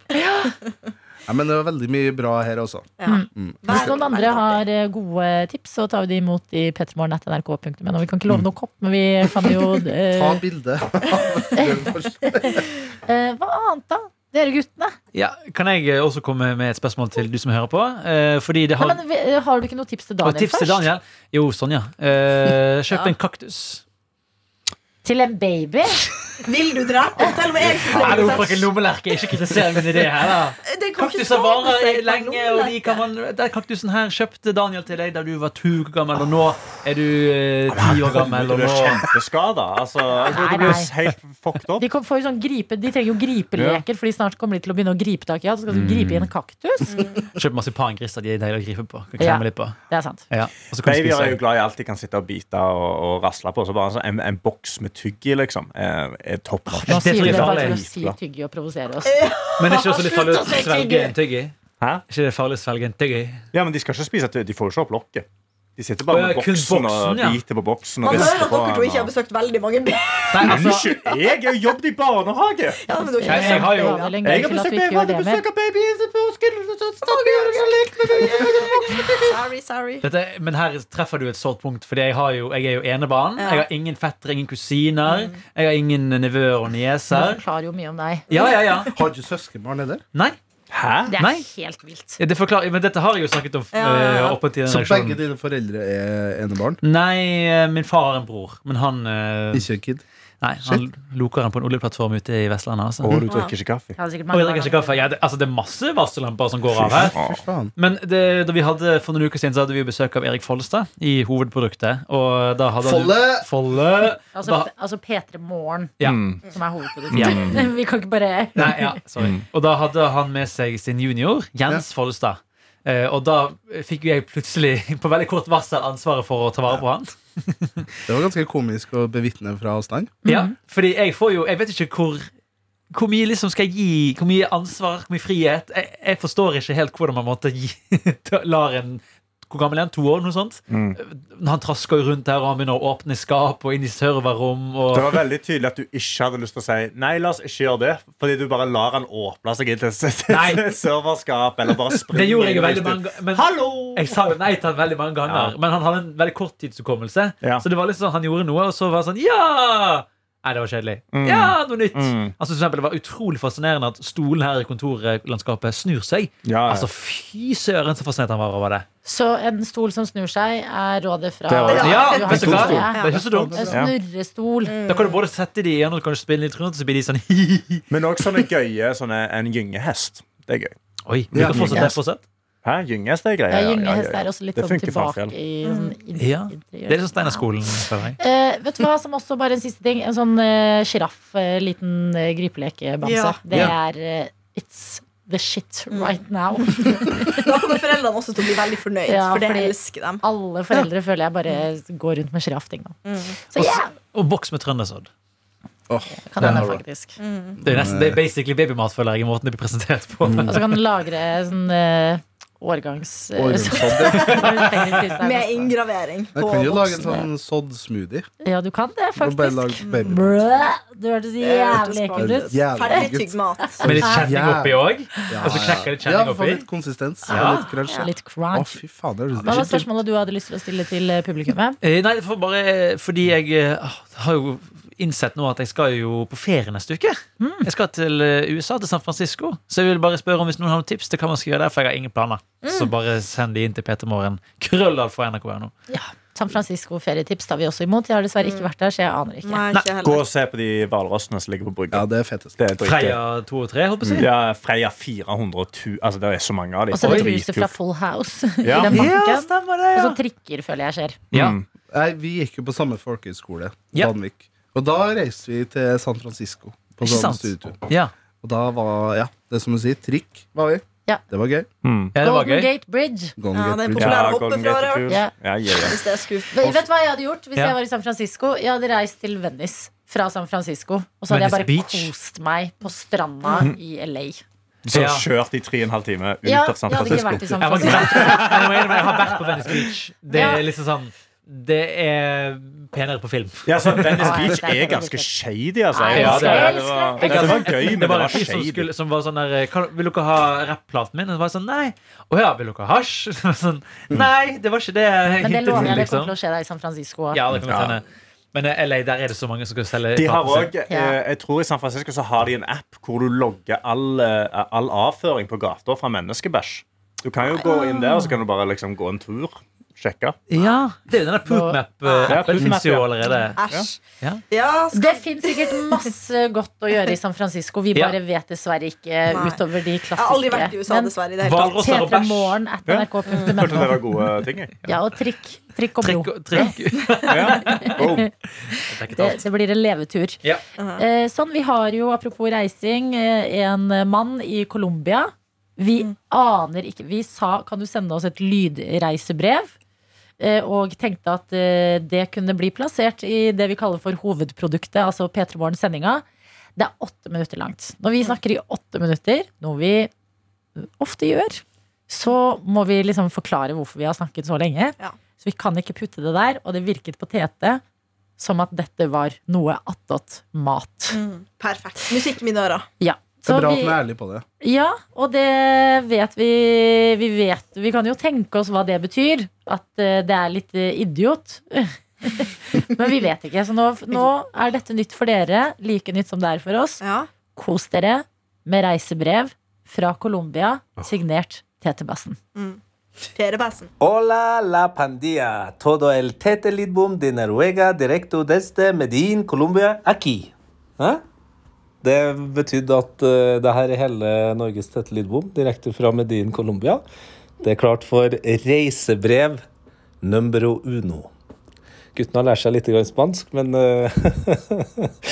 Speaker 4: Nei, men det var veldig mye bra her altså. også.
Speaker 2: Ja.
Speaker 3: Mm.
Speaker 4: Mm.
Speaker 3: Hvis
Speaker 2: Vær-
Speaker 3: noen andre har eh, gode tips, så tar vi de imot i petermorgen.nrk.no. Vi kan ikke love noen kopp, men vi kan jo eh,
Speaker 4: Ta bilde.
Speaker 3: eh, Hva annet, da? Dere guttene.
Speaker 5: Ja, kan jeg eh, også komme med et spørsmål til du som hører på? Eh, fordi det har
Speaker 3: Nei, men, vi- har du ikke noe tips til Daniel
Speaker 5: Og tips
Speaker 3: først?
Speaker 5: til Daniel. Jo, sånn, ja. Eh,
Speaker 2: Ja.
Speaker 5: kjøp en kaktus.
Speaker 3: Til en baby?
Speaker 2: Vil du drepe? Fortell meg jeg skal
Speaker 5: Nei, det er jo
Speaker 2: drepe.
Speaker 5: frøken lommelerke. Ikke kritiser min idé her, da.
Speaker 2: Det kan ikke
Speaker 5: Kaktuser
Speaker 2: skade
Speaker 5: varer
Speaker 2: seg på
Speaker 5: lenge, og de kan man Den kaktusen her kjøpte Daniel til deg da du var to uker gammel, og nå er du eh, ti år gammel,
Speaker 6: Du
Speaker 5: og
Speaker 6: blir
Speaker 5: nå
Speaker 6: kjempeskada. Altså, altså,
Speaker 3: Nei,
Speaker 6: du blir
Speaker 3: nei.
Speaker 6: helt fucked opp.
Speaker 3: De, kom, får jo sånn gripe, de trenger jo gripeleker, Fordi snart kommer de til å begynne å gripe tak i alt. Så skal du gripe i en kaktus.
Speaker 5: Kjøp marsipangriser. De er deilige å gripe på. Kan
Speaker 3: Ja.
Speaker 5: klemme litt på.
Speaker 3: Det er sant.
Speaker 5: Ja. Og så kan du
Speaker 6: Babyer
Speaker 5: spise.
Speaker 6: er jo glad i alt de kan sitte og bite og, og rasle på. Så bare altså, en, en boks med tygg i, liksom, er, er topp
Speaker 5: Nå
Speaker 6: notch.
Speaker 3: Nå
Speaker 5: Det
Speaker 3: sier
Speaker 5: tror
Speaker 3: vi
Speaker 5: jeg
Speaker 3: det bare
Speaker 5: farlig.
Speaker 3: for å si tygge og provosere oss.
Speaker 5: Men er ikke det også litt farlig å
Speaker 3: Slutt å si
Speaker 5: svelge
Speaker 3: tygge.
Speaker 5: en tyggi?
Speaker 6: Hæ?
Speaker 5: Er ikke det farlig å svelge en tyggi?
Speaker 6: Ja, men de skal ikke spise tygg. De får jo ikke opp lokket. De sitter
Speaker 5: Å,
Speaker 6: bare
Speaker 5: ja,
Speaker 6: med
Speaker 5: kun
Speaker 6: boksen
Speaker 5: boksen,
Speaker 6: og
Speaker 5: ja.
Speaker 6: biter på boksen. Og
Speaker 2: Man hører
Speaker 6: rister
Speaker 2: at
Speaker 6: på
Speaker 2: dere to
Speaker 6: den,
Speaker 2: ikke har
Speaker 6: og-
Speaker 2: besøkt veldig mange barn.
Speaker 5: Nei, altså,
Speaker 6: Unnskyld, jeg er jo jobbet i barnehage!
Speaker 2: Ja, men du har
Speaker 5: Nei,
Speaker 2: ikke
Speaker 5: jeg
Speaker 2: besøkt
Speaker 5: har jo-
Speaker 2: barn.
Speaker 3: en
Speaker 6: Jeg
Speaker 3: grunn til
Speaker 6: har
Speaker 3: at vi
Speaker 6: besøkt
Speaker 3: ikke gjør
Speaker 6: baby,
Speaker 3: det mer.
Speaker 6: besøk av baby på
Speaker 2: Sorry, sorry.
Speaker 5: dette, men her treffer du et sårt punkt, Fordi jeg, har jo, jeg er jo enebarn.
Speaker 2: Ja.
Speaker 5: Jeg har ingen fettere, ingen kusiner. Jeg har ingen nevøer og
Speaker 3: Det
Speaker 5: nieser.
Speaker 3: forklarer jo mye om deg.
Speaker 5: Ja, ja, ja.
Speaker 4: Har du søskenbarn neder?
Speaker 5: Nei.
Speaker 6: Hæ?
Speaker 3: Det er
Speaker 5: Nei.
Speaker 3: helt vilt.
Speaker 5: Det forklarer, men dette har jeg jo snakket om
Speaker 2: Ja, ja, ja.
Speaker 5: eh, opp til den
Speaker 4: Så begge
Speaker 5: reaksjonen.
Speaker 4: dine foreldre er enebarn?
Speaker 5: Nei, eh, min far har en bror, men han eh,
Speaker 4: Ikke en kid?
Speaker 5: Nei, han loker han på en oljeplattform ute i Vestlandet. Altså.
Speaker 6: Å,
Speaker 5: Og
Speaker 6: du drikker ikke kaffe?
Speaker 3: Jeg hadde sikkert
Speaker 5: jeg
Speaker 3: mange
Speaker 5: drikker ikke kaffe. Ja, det, altså, det er masse varsellamper som går av her.
Speaker 4: Fy faen.
Speaker 5: Men det, da vi hadde for noen uker siden Så hadde vi besøk av Erik Follestad i Hovedproduktet. Og da hadde han-
Speaker 4: Folle!
Speaker 5: Folle!
Speaker 3: Altså,
Speaker 5: Da,
Speaker 3: altså P3 Morgen,
Speaker 5: ja.
Speaker 6: Mm.
Speaker 3: som er
Speaker 5: Ja.
Speaker 3: hovedproduktet. Vi kan ikke bare
Speaker 5: Nei, ja, sorry.
Speaker 4: Mm.
Speaker 5: Og da hadde han med seg sin junior, Jens Follestad. Eh, og da fikk jo jeg plutselig på veldig kort varsel ansvaret for å ta vare på han.
Speaker 4: Det var ganske komisk å bevitne fra avstand.
Speaker 5: Ja, fordi jeg får jo Jeg vet ikke hvor hvor mye liksom skal jeg gi, hvor mye ansvar, hvor mye frihet. Jeg, jeg forstår ikke helt hvordan man måtte gi lar en Hvor gammel er han? To år? Noe sånt?
Speaker 6: Mm.
Speaker 5: Han trasker jo rundt her og han begynner å åpne skap og inn i serverrom. Og,
Speaker 6: Det var veldig tydelig at du ikke hadde lyst til å si Nei, la oss ikke gjøre det, fordi du bare lar han åpne seg inn til s-
Speaker 5: Nei.
Speaker 6: s- serverskap. Eller bare springe
Speaker 5: Det gjorde jeg jo
Speaker 6: inn i
Speaker 5: veldig mange
Speaker 6: stu-
Speaker 5: men-
Speaker 6: Hallo!
Speaker 5: Jeg sa jo nei til han veldig mange ganger,
Speaker 6: Ja.
Speaker 5: men han hadde en veldig korttidshukommelse.
Speaker 6: Ja.
Speaker 5: Så det var liksom sånn, han gjorde noe, og så var det sånn Ja! Nei, det var kjedelig. Ja, noe nytt.
Speaker 6: Mm.
Speaker 5: Altså, for eksempel, det var utrolig fascinerende at stolen her i kontorlandskapet snur seg.
Speaker 6: Ja, ja.
Speaker 5: Altså, Fy søren, så fascinert han var over det.
Speaker 3: Så en stol som snur seg, er rådet fra
Speaker 6: Det var det.
Speaker 5: Ja,
Speaker 3: Johan
Speaker 5: vet du hva?
Speaker 3: Tore.
Speaker 5: Det er ikke så dumt.
Speaker 3: En snurrestol.
Speaker 5: Da kan du både sette de igjen, og du kan spille litt rundt, så blir de sånn hi-hi.
Speaker 6: Men òg sånne gøye sånne, En gyngehest. Det er gøy.
Speaker 5: Oi, du kan fortsette det fortsatt.
Speaker 6: Hæ? Gyngehest er greia.
Speaker 3: Ja,
Speaker 6: ja, ja,
Speaker 3: Gyngehest
Speaker 6: ja.
Speaker 3: er også litt
Speaker 6: Det
Speaker 3: sånn
Speaker 6: funker faen
Speaker 3: tilbake
Speaker 6: selv.
Speaker 3: i sånn in-
Speaker 5: Ja.
Speaker 3: interiør.
Speaker 5: Det er litt sånn Steinerskolen. føler jeg.
Speaker 3: Eh, vet du hva, som også bare en siste ting. En sånn sjiraff, liten eh, gripelekebamse.
Speaker 2: Ja.
Speaker 3: Det
Speaker 5: Ja.
Speaker 3: er eh, It's the shit right now.
Speaker 2: Da kommer foreldrene også til å bli veldig fornøyd,
Speaker 3: Ja,
Speaker 2: for det
Speaker 3: fordi-
Speaker 2: elsker dem.
Speaker 3: Alle foreldre føler jeg bare går rundt med sjiraffting nå. Så
Speaker 5: Og
Speaker 3: ja,
Speaker 5: s- Og boks med trøndersodd.
Speaker 4: Åh,
Speaker 3: kan hende,
Speaker 4: den var-
Speaker 3: faktisk.
Speaker 5: Det er jo nesten det er basically babymat, føler jeg, i måten det blir presentert på.
Speaker 3: Og så kan den lagre sånn eh, årgangs... eh,
Speaker 4: Årgangssodd.
Speaker 3: sånn-
Speaker 2: Med inngravering.
Speaker 4: Jeg kan jo lage en sånn sodd-smoothie.
Speaker 3: Ja, du kan det,
Speaker 4: Og bare
Speaker 3: faktisk.
Speaker 4: lage baby.
Speaker 3: Brø! Du hørtes
Speaker 2: hørtes
Speaker 3: jævlig ekkel
Speaker 4: bare
Speaker 3: ut.
Speaker 4: jævlig
Speaker 2: Ferdig
Speaker 4: gutt.
Speaker 2: tygd mat.
Speaker 5: Med litt kjenning oppi òg.
Speaker 4: Ja,
Speaker 5: Og så knekker litt kjenning
Speaker 4: ja, for
Speaker 5: oppi.
Speaker 4: litt konsistens.
Speaker 5: Ja.
Speaker 4: Og litt crunch.
Speaker 3: Så Litt
Speaker 4: Å,
Speaker 3: crunch.
Speaker 4: fy faen, det
Speaker 3: Hva var
Speaker 4: høres ut
Speaker 3: spørsmålet du hadde lyst til å stille til eh, publikummet?
Speaker 5: Eh, Nei, for bare eh, fordi jeg eh, har jo innsett nå at jeg skal jo på ferie neste uke.
Speaker 3: Mm.
Speaker 5: Jeg skal til eh, USA, til San Francisco. Så jeg vil bare spørre om hvis noen har noen tips til hva man skal gjøre der, for jeg har ingen planer.
Speaker 3: Mm.
Speaker 5: Så bare send de inn til PT-morgen. Krøllalf for nrk.no.
Speaker 3: Ja, San Francisco ferietips tar vi også imot. Jeg har dessverre ikke vært der, så jeg aner ikke.
Speaker 2: Mm. Nei, ikke
Speaker 6: Gå
Speaker 2: heller.
Speaker 6: og se på de hvalrossene som ligger på brygga.
Speaker 4: Ja, det er fetest.
Speaker 6: Det er dritgøy.
Speaker 5: Freia 2 og 3, håper jeg. å si.
Speaker 6: Ja, Freia 400 000 Altså, det er så mange av dem.
Speaker 3: Og så er det
Speaker 6: Dritkult.
Speaker 3: huset fra Full House
Speaker 6: Ja.
Speaker 3: i den banken.
Speaker 5: stemmer det,
Speaker 3: Og så trikker, føler jeg skjer.
Speaker 5: Ja.
Speaker 6: Mm.
Speaker 4: Nei, vi gikk jo på samme folkehøyskole,
Speaker 5: Ja.
Speaker 4: Danvik. Og da reiste vi til San Francisco. På
Speaker 5: Ikke
Speaker 4: sånn
Speaker 5: sant?
Speaker 4: studietur.
Speaker 5: Ja.
Speaker 4: Og da var ja, det er som du sier, trikk var vi.
Speaker 3: Ja.
Speaker 4: Det var gøy.
Speaker 5: ja, det var
Speaker 3: Golden
Speaker 5: gøy.
Speaker 3: Gate Bridge.
Speaker 4: Golden
Speaker 2: Ja,
Speaker 4: Gate
Speaker 2: det er
Speaker 4: Bridge.
Speaker 2: populært. Populære
Speaker 6: Ja,
Speaker 2: hoppet
Speaker 6: Golden
Speaker 2: fra
Speaker 6: Gate
Speaker 2: det,
Speaker 6: Tour.
Speaker 3: ja.
Speaker 6: Ja, ja, ja.
Speaker 2: Hvis det er skuff.
Speaker 3: Vet vet du hva jeg hadde gjort hvis
Speaker 5: Ja.
Speaker 3: jeg var i San Francisco? Jeg hadde reist til Venice fra San Francisco. Og så hadde jeg bare
Speaker 5: Venice Beach. Mhm.
Speaker 3: kost meg på stranda i LA.
Speaker 6: Så
Speaker 5: Ja.
Speaker 6: kjørt i tre og en halv time ut
Speaker 3: Ja,
Speaker 6: av San
Speaker 3: jeg hadde ikke
Speaker 6: Francisco.
Speaker 3: vært i San
Speaker 5: Jeg, var ikke
Speaker 3: Francisco.
Speaker 5: vært, jeg, må innrømme, jeg har vært på Venice Beach. Det
Speaker 3: Ja.
Speaker 5: er liksom sånn Det er penere på film.
Speaker 6: Ja, så Venice
Speaker 3: Nei,
Speaker 6: Beach
Speaker 3: det er
Speaker 6: er
Speaker 3: veldig
Speaker 6: ganske
Speaker 3: fett.
Speaker 6: shady, altså.
Speaker 3: Nei,
Speaker 5: Ja, det
Speaker 6: det,
Speaker 5: er-
Speaker 6: det, var,
Speaker 3: det
Speaker 6: det,
Speaker 5: Jeg-
Speaker 6: var gøy, men
Speaker 5: det
Speaker 6: det
Speaker 5: var en
Speaker 6: var
Speaker 5: fyr som,
Speaker 6: shady.
Speaker 5: skulle, som var sånn der kan, Vil dere ha rapplaten min? Og så var jeg sånn Nei. Å ja, vil dere ha hasj? Så var jeg sånn, Nei, det var ikke det jeg
Speaker 3: Men det
Speaker 5: hintet
Speaker 3: lover
Speaker 5: til,
Speaker 3: jeg deg kommer
Speaker 5: liksom.
Speaker 3: til å skje deg i San Francisco. også.
Speaker 5: Ja, det kan godt
Speaker 6: Ja.
Speaker 5: hende. Men eh, LA, der er det så mange som skal selge
Speaker 6: De har
Speaker 5: plate.
Speaker 6: òg Jeg tror i San Francisco så har de en app hvor du logger all, eh, all avføring på gata fra menneskebæsj. Du kan jo gå inn der, og så kan du bare liksom gå en tur. Sjekke.
Speaker 5: Ja, det er jo denne
Speaker 6: Ja,
Speaker 5: Poopmap-appen.
Speaker 6: Poop
Speaker 5: eh, finnes jo
Speaker 6: Map, ja.
Speaker 5: allerede.
Speaker 2: Æsj.
Speaker 5: Ja.
Speaker 2: Ja, skal-
Speaker 3: Det fins sikkert masse godt å gjøre i San Francisco. Vi
Speaker 5: Ja.
Speaker 3: bare vet dessverre ikke
Speaker 2: Nei.
Speaker 3: utover de
Speaker 2: jeg har aldri vært i USA,
Speaker 3: klassiske.
Speaker 2: dessverre. i det hele tatt.
Speaker 5: Hvalross
Speaker 3: Men
Speaker 5: og bæsj.
Speaker 3: P3morgen at
Speaker 6: Hørte det
Speaker 3: nrk.no.
Speaker 6: var gode ting. jeg.
Speaker 3: Ja, og trikk. Trikk og
Speaker 5: Trikk,
Speaker 3: blod.
Speaker 5: trikk.
Speaker 6: Ja. Boom.
Speaker 5: Dekket
Speaker 3: Det,
Speaker 5: alt.
Speaker 3: det blir en levetur.
Speaker 5: Ja.
Speaker 3: Eh, sånn, Vi har jo, apropos reising, eh, en mann i Colombia. Vi
Speaker 2: Mm.
Speaker 3: aner ikke Vi sa kan du sende oss et lydreisebrev? Eh, og tenkte at eh, det kunne bli plassert i det vi kaller for hovedproduktet, altså P3 Morgen-sendinga. Det er åtte minutter langt. Når
Speaker 2: Mm.
Speaker 3: vi snakker i åtte minutter, noe vi ofte gjør, så må vi liksom forklare hvorfor vi har snakket så lenge.
Speaker 2: Ja.
Speaker 3: Så vi kan ikke putte det der. Og det virket på Tete som at dette var noe attåt mat.
Speaker 2: Mm, perfekt. Musikk min øra.
Speaker 3: Ja.
Speaker 4: Det
Speaker 3: Så
Speaker 4: er bra at
Speaker 3: vi-
Speaker 4: den er ærlig på det.
Speaker 3: ja, og det vet vi Vi vet, vi kan jo tenke oss hva det betyr At eh, det er litt eh, idiot Men vi vet ikke Så nå, nå er dette nytt for dere Like nytt som det er for oss
Speaker 2: Ja.
Speaker 3: Kos dere med reisebrev fra Colombia Signert Tete Bassen
Speaker 2: Flere bæsen.
Speaker 7: Hola la pandilla, todo el Tete Lidbom de Noruega direkte desde Medin, Colombia, aquí. Hæ? Det betydde at eh, det her er hele Norges Tete Lidbom direkte fra Medin, Colombia. Det er klart for reisebrev numero uno. Guttene har lært seg litt grann spansk, men eh,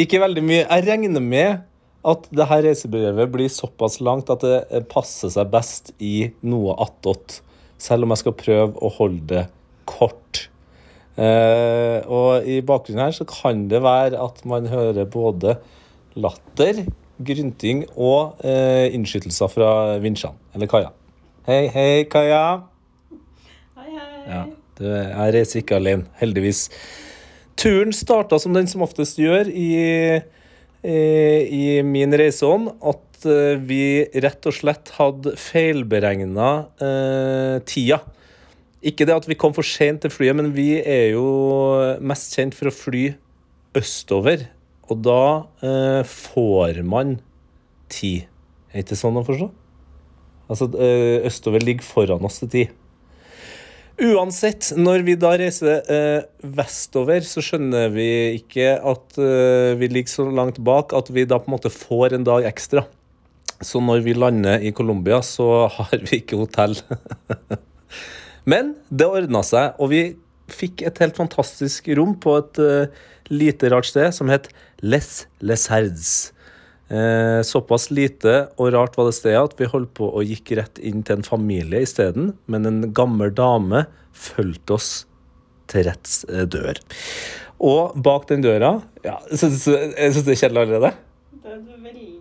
Speaker 7: ikke veldig mye. Jeg regner med at det her reisebrevet blir såpass langt at det passer seg best i noe attåt. Selv om jeg skal prøve å holde det kort. Eh, og i bakgrunnen her så kan det være at man hører både latter, grynting og eh, innskytelser fra vinsjene, eller kaia. Hei, hei, kaia. Hei, hei. Ja, du, jeg reiser ikke alene, heldigvis. Turen starta som den som oftest gjør i, eh, i min reiseånd, at eh, vi rett og slett hadde feilberegna eh, tida. Ikke det at vi kom for sent til flyet, men vi er jo mest kjent for å fly østover. Og da eh, får man tid. Er ikke sånn å forstå? Altså, eh, østover ligger foran oss til tid. Uansett, når vi da reiser eh, vestover, så skjønner vi ikke at eh, vi ligger så langt bak at vi da på en måte får en dag ekstra. Så når vi lander i Colombia, så har vi ikke hotell. Men det ordna seg, og vi fikk et helt fantastisk rom på et eh, lite rart sted som het Les Lesherds. Eh, såpass lite og rart var det stedet at vi holdt på og gikk rett inn til en familie isteden, men en gammel dame fulgte oss til retts eh, dør. Og bak den døra ja, synes, Jeg syns det er kjedelig allerede.
Speaker 8: Det er du veldig,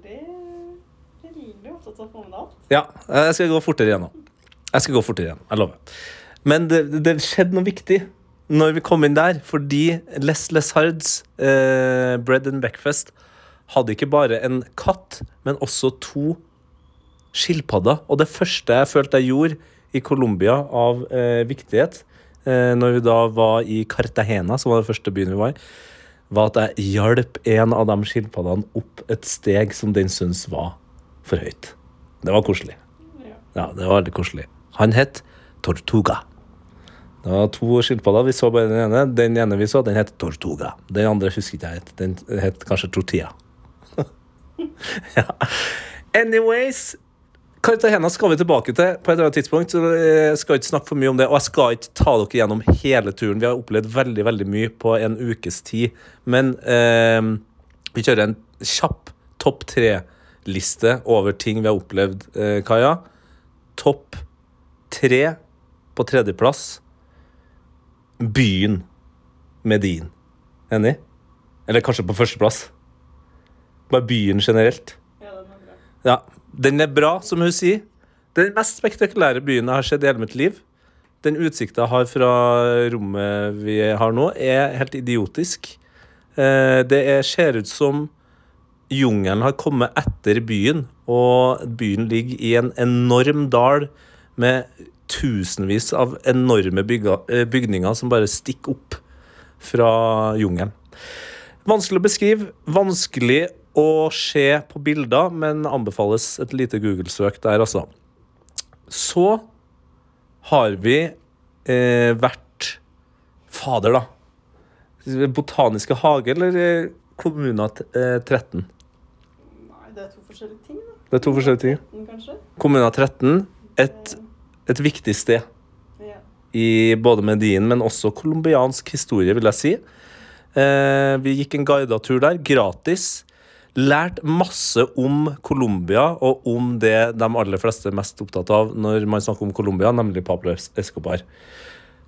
Speaker 8: veldig opptatt av promenat.
Speaker 7: Ja, jeg skal gå fortere igjennom. Jeg skal gå fortere igjennom, jeg lover. Men det, det skjedde noe viktig når vi kom inn der, fordi Les Leshards eh, Bread and Breakfast hadde ikke bare en katt, men også to skilpadder. Og det første jeg følte jeg gjorde i Colombia av eh, viktighet, eh, når vi da var i Cartagena, som var den første byen vi var i, var at jeg hjalp en av de skilpaddene opp et steg som den syntes var for høyt. Det var koselig. Ja, det var veldig koselig. Han het Tortuga. Det var to skilpadder. Vi så bare den ene. Den ene vi så, den het Tortuga. Den andre husker ikke jeg het. Den het kanskje Tortilla. ja. Anyways Cartagena skal vi tilbake til på et eller annet tidspunkt. så Jeg skal ikke snakke for mye om det, og jeg skal ikke ta dere gjennom hele turen. Vi har opplevd veldig veldig mye på en ukes tid. Men eh, vi kjører en kjapp topp tre-liste over ting vi har opplevd, eh, Kaja. Topp tre på tredjeplass. Byen Medin. Enig? Eller kanskje på førsteplass. Bare byen generelt. Ja, den er bra, som hun sier. Den mest spektakulære byen jeg har sett i hele mitt liv. Den utsikta jeg har fra rommet vi har nå, er helt idiotisk. Eh, Det er, ser ut som jungelen har kommet etter byen, og byen ligger i en enorm dal med tusenvis av enorme bygga- eh, bygninger som bare stikker opp fra jungelen. Vanskelig å beskrive, vanskelig å se på bilder, men anbefales et lite Google-søk der, altså. Så har vi eh, vært Fader, da. Botaniske hage eller eh, Kommuna t- eh, 13?
Speaker 8: Nei, det er to forskjellige ting, da.
Speaker 7: Det er to forskjellige ting.
Speaker 8: Den, kanskje?
Speaker 7: Kommuna 13, et, et viktig sted
Speaker 8: Ja.
Speaker 7: i både Medien, men også colombiansk historie, vil jeg si. Eh, vi gikk en guidet tur der, gratis. Lært masse om Colombia, og om det de aller fleste er mest opptatt av når man snakker om Colombia, nemlig Pablo Es- Escobar.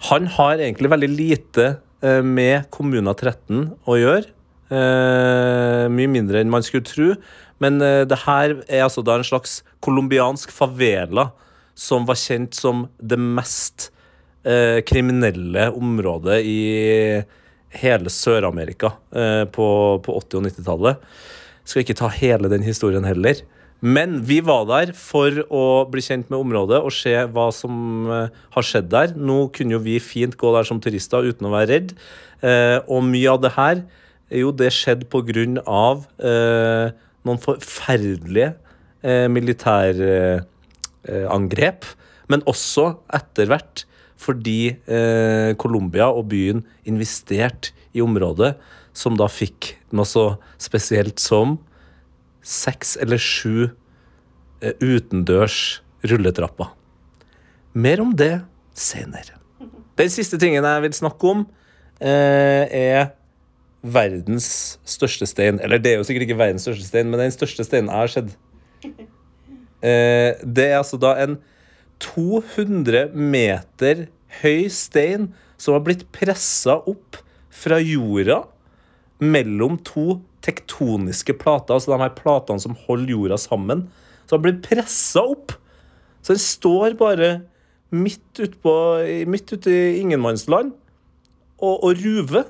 Speaker 7: Han har egentlig veldig lite eh, med Kommuna 13 å gjøre. Eh, mye mindre enn man skulle tro. Men eh, det her er altså da en slags colombiansk favela som var kjent som det mest eh, kriminelle området i hele Sør-Amerika eh, på, på 80- og 90-tallet. Skal ikke ta hele den historien heller. Men vi var der for å bli kjent med området og se hva som eh, har skjedd der. Nå kunne jo vi fint gå der som turister uten å være redd. Eh, og mye av det her eh, jo, det skjedde på grunn av eh, noen forferdelige eh, militærangrep. Eh, angrep, men også etter hvert fordi eh, Colombia og byen investerte i området, som da fikk noe så spesielt som seks eller sju eh, utendørs rulletrapper. Mer om det senere. Den siste tingen jeg vil snakke om, eh, er verdens største stein. Eller det er jo sikkert ikke verdens største stein, men den største steinen jeg har sett. Eh, det er altså da en 200 meter høy stein som har blitt pressa opp fra jorda mellom to tektoniske plater, altså de her platene som holder jorda sammen. Så den blir pressa opp. Så den står bare midt utpå Midt ute i ingenmannsland og, og ruver.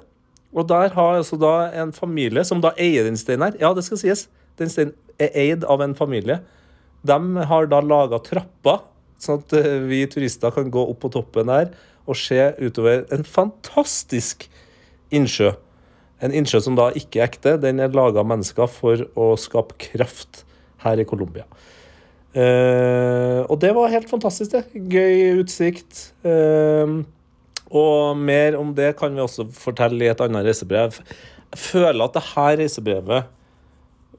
Speaker 7: Og der har altså da en familie som da eier den steinen her. Ja, det skal sies. Den steinen er eid av en familie. De har da laga trapper, sånn at eh, vi turister kan gå opp på toppen der og se utover en fantastisk innsjø. En innsjø som da ikke er ekte. Den er laga av mennesker for å skape kraft her i Colombia. Eh, og det var helt fantastisk, det. Gøy utsikt. Eh, og mer om det kan vi også fortelle i et annet reisebrev. Jeg føler at det her reisebrevet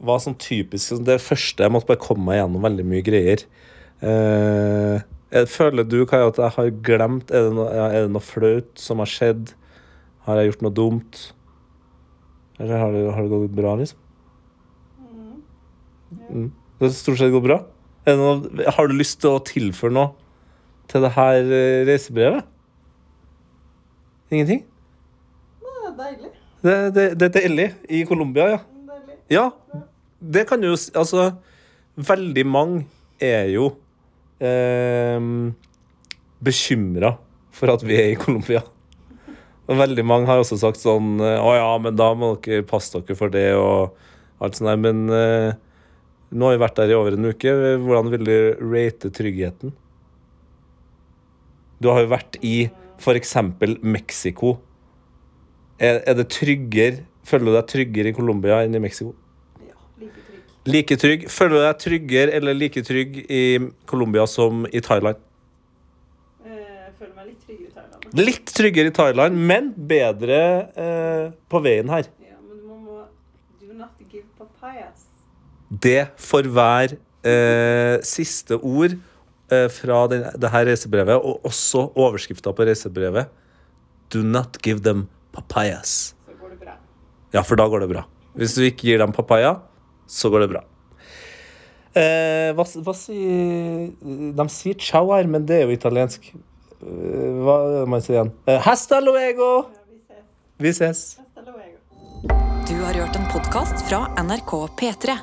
Speaker 7: var sånn typisk sånn Det første jeg måtte bare komme meg gjennom veldig mye greier. Eh, jeg føler du, Kaja, at jeg har glemt Er det noe, ja, er det noe flaut som har skjedd? Har jeg gjort noe dumt? Eller har det, har det gått bra, liksom? Mm. Det har stort sett gått bra? Er det noe, har du lyst til å tilføre noe til det her eh, reisebrevet? Ingenting?
Speaker 8: Det er deilig.
Speaker 7: Det, det, det er deilig i Colombia, ja.
Speaker 8: deilig.
Speaker 7: Ja, det kan jo s- Altså, veldig mange er jo eh, bekymra for at vi er i Colombia. Og veldig mange har også sagt sånn eh, Å ja, men da må dere passe dere for det og alt sånt der. Men eh, nå har vi vært der i over en uke. Hvordan vil du rate tryggheten? Du har jo vært i f.eks. Mexico. Er, er det tryggere Føler du deg tryggere i Colombia enn i Mexico?
Speaker 8: Ja, like trygg.
Speaker 7: Like trygg. Føler du deg tryggere eller like trygg i Colombia som i Thailand?
Speaker 8: Eh, Jeg føler meg litt tryggere i Thailand.
Speaker 7: Litt tryggere i Thailand, men bedre eh, på veien her.
Speaker 8: Ja, men du må, må Do not give papayas.
Speaker 7: Det får være eh, siste ord eh, fra den, det her reisebrevet, og også overskrifta på reisebrevet. Do not give them papayas.
Speaker 8: Så går det bra.
Speaker 7: Ja, for da går det bra. Hvis du ikke gir dem papaya, så går det bra. Eh, hva, s- hva sier De sier ciao her, men det er jo italiensk. Eh, hva er det man sier igjen? Eh, hasta luego!
Speaker 8: Ja, vi ses.
Speaker 7: Vi ses.
Speaker 8: Hasta luego.
Speaker 1: Du har hørt en podkast fra NRK P3.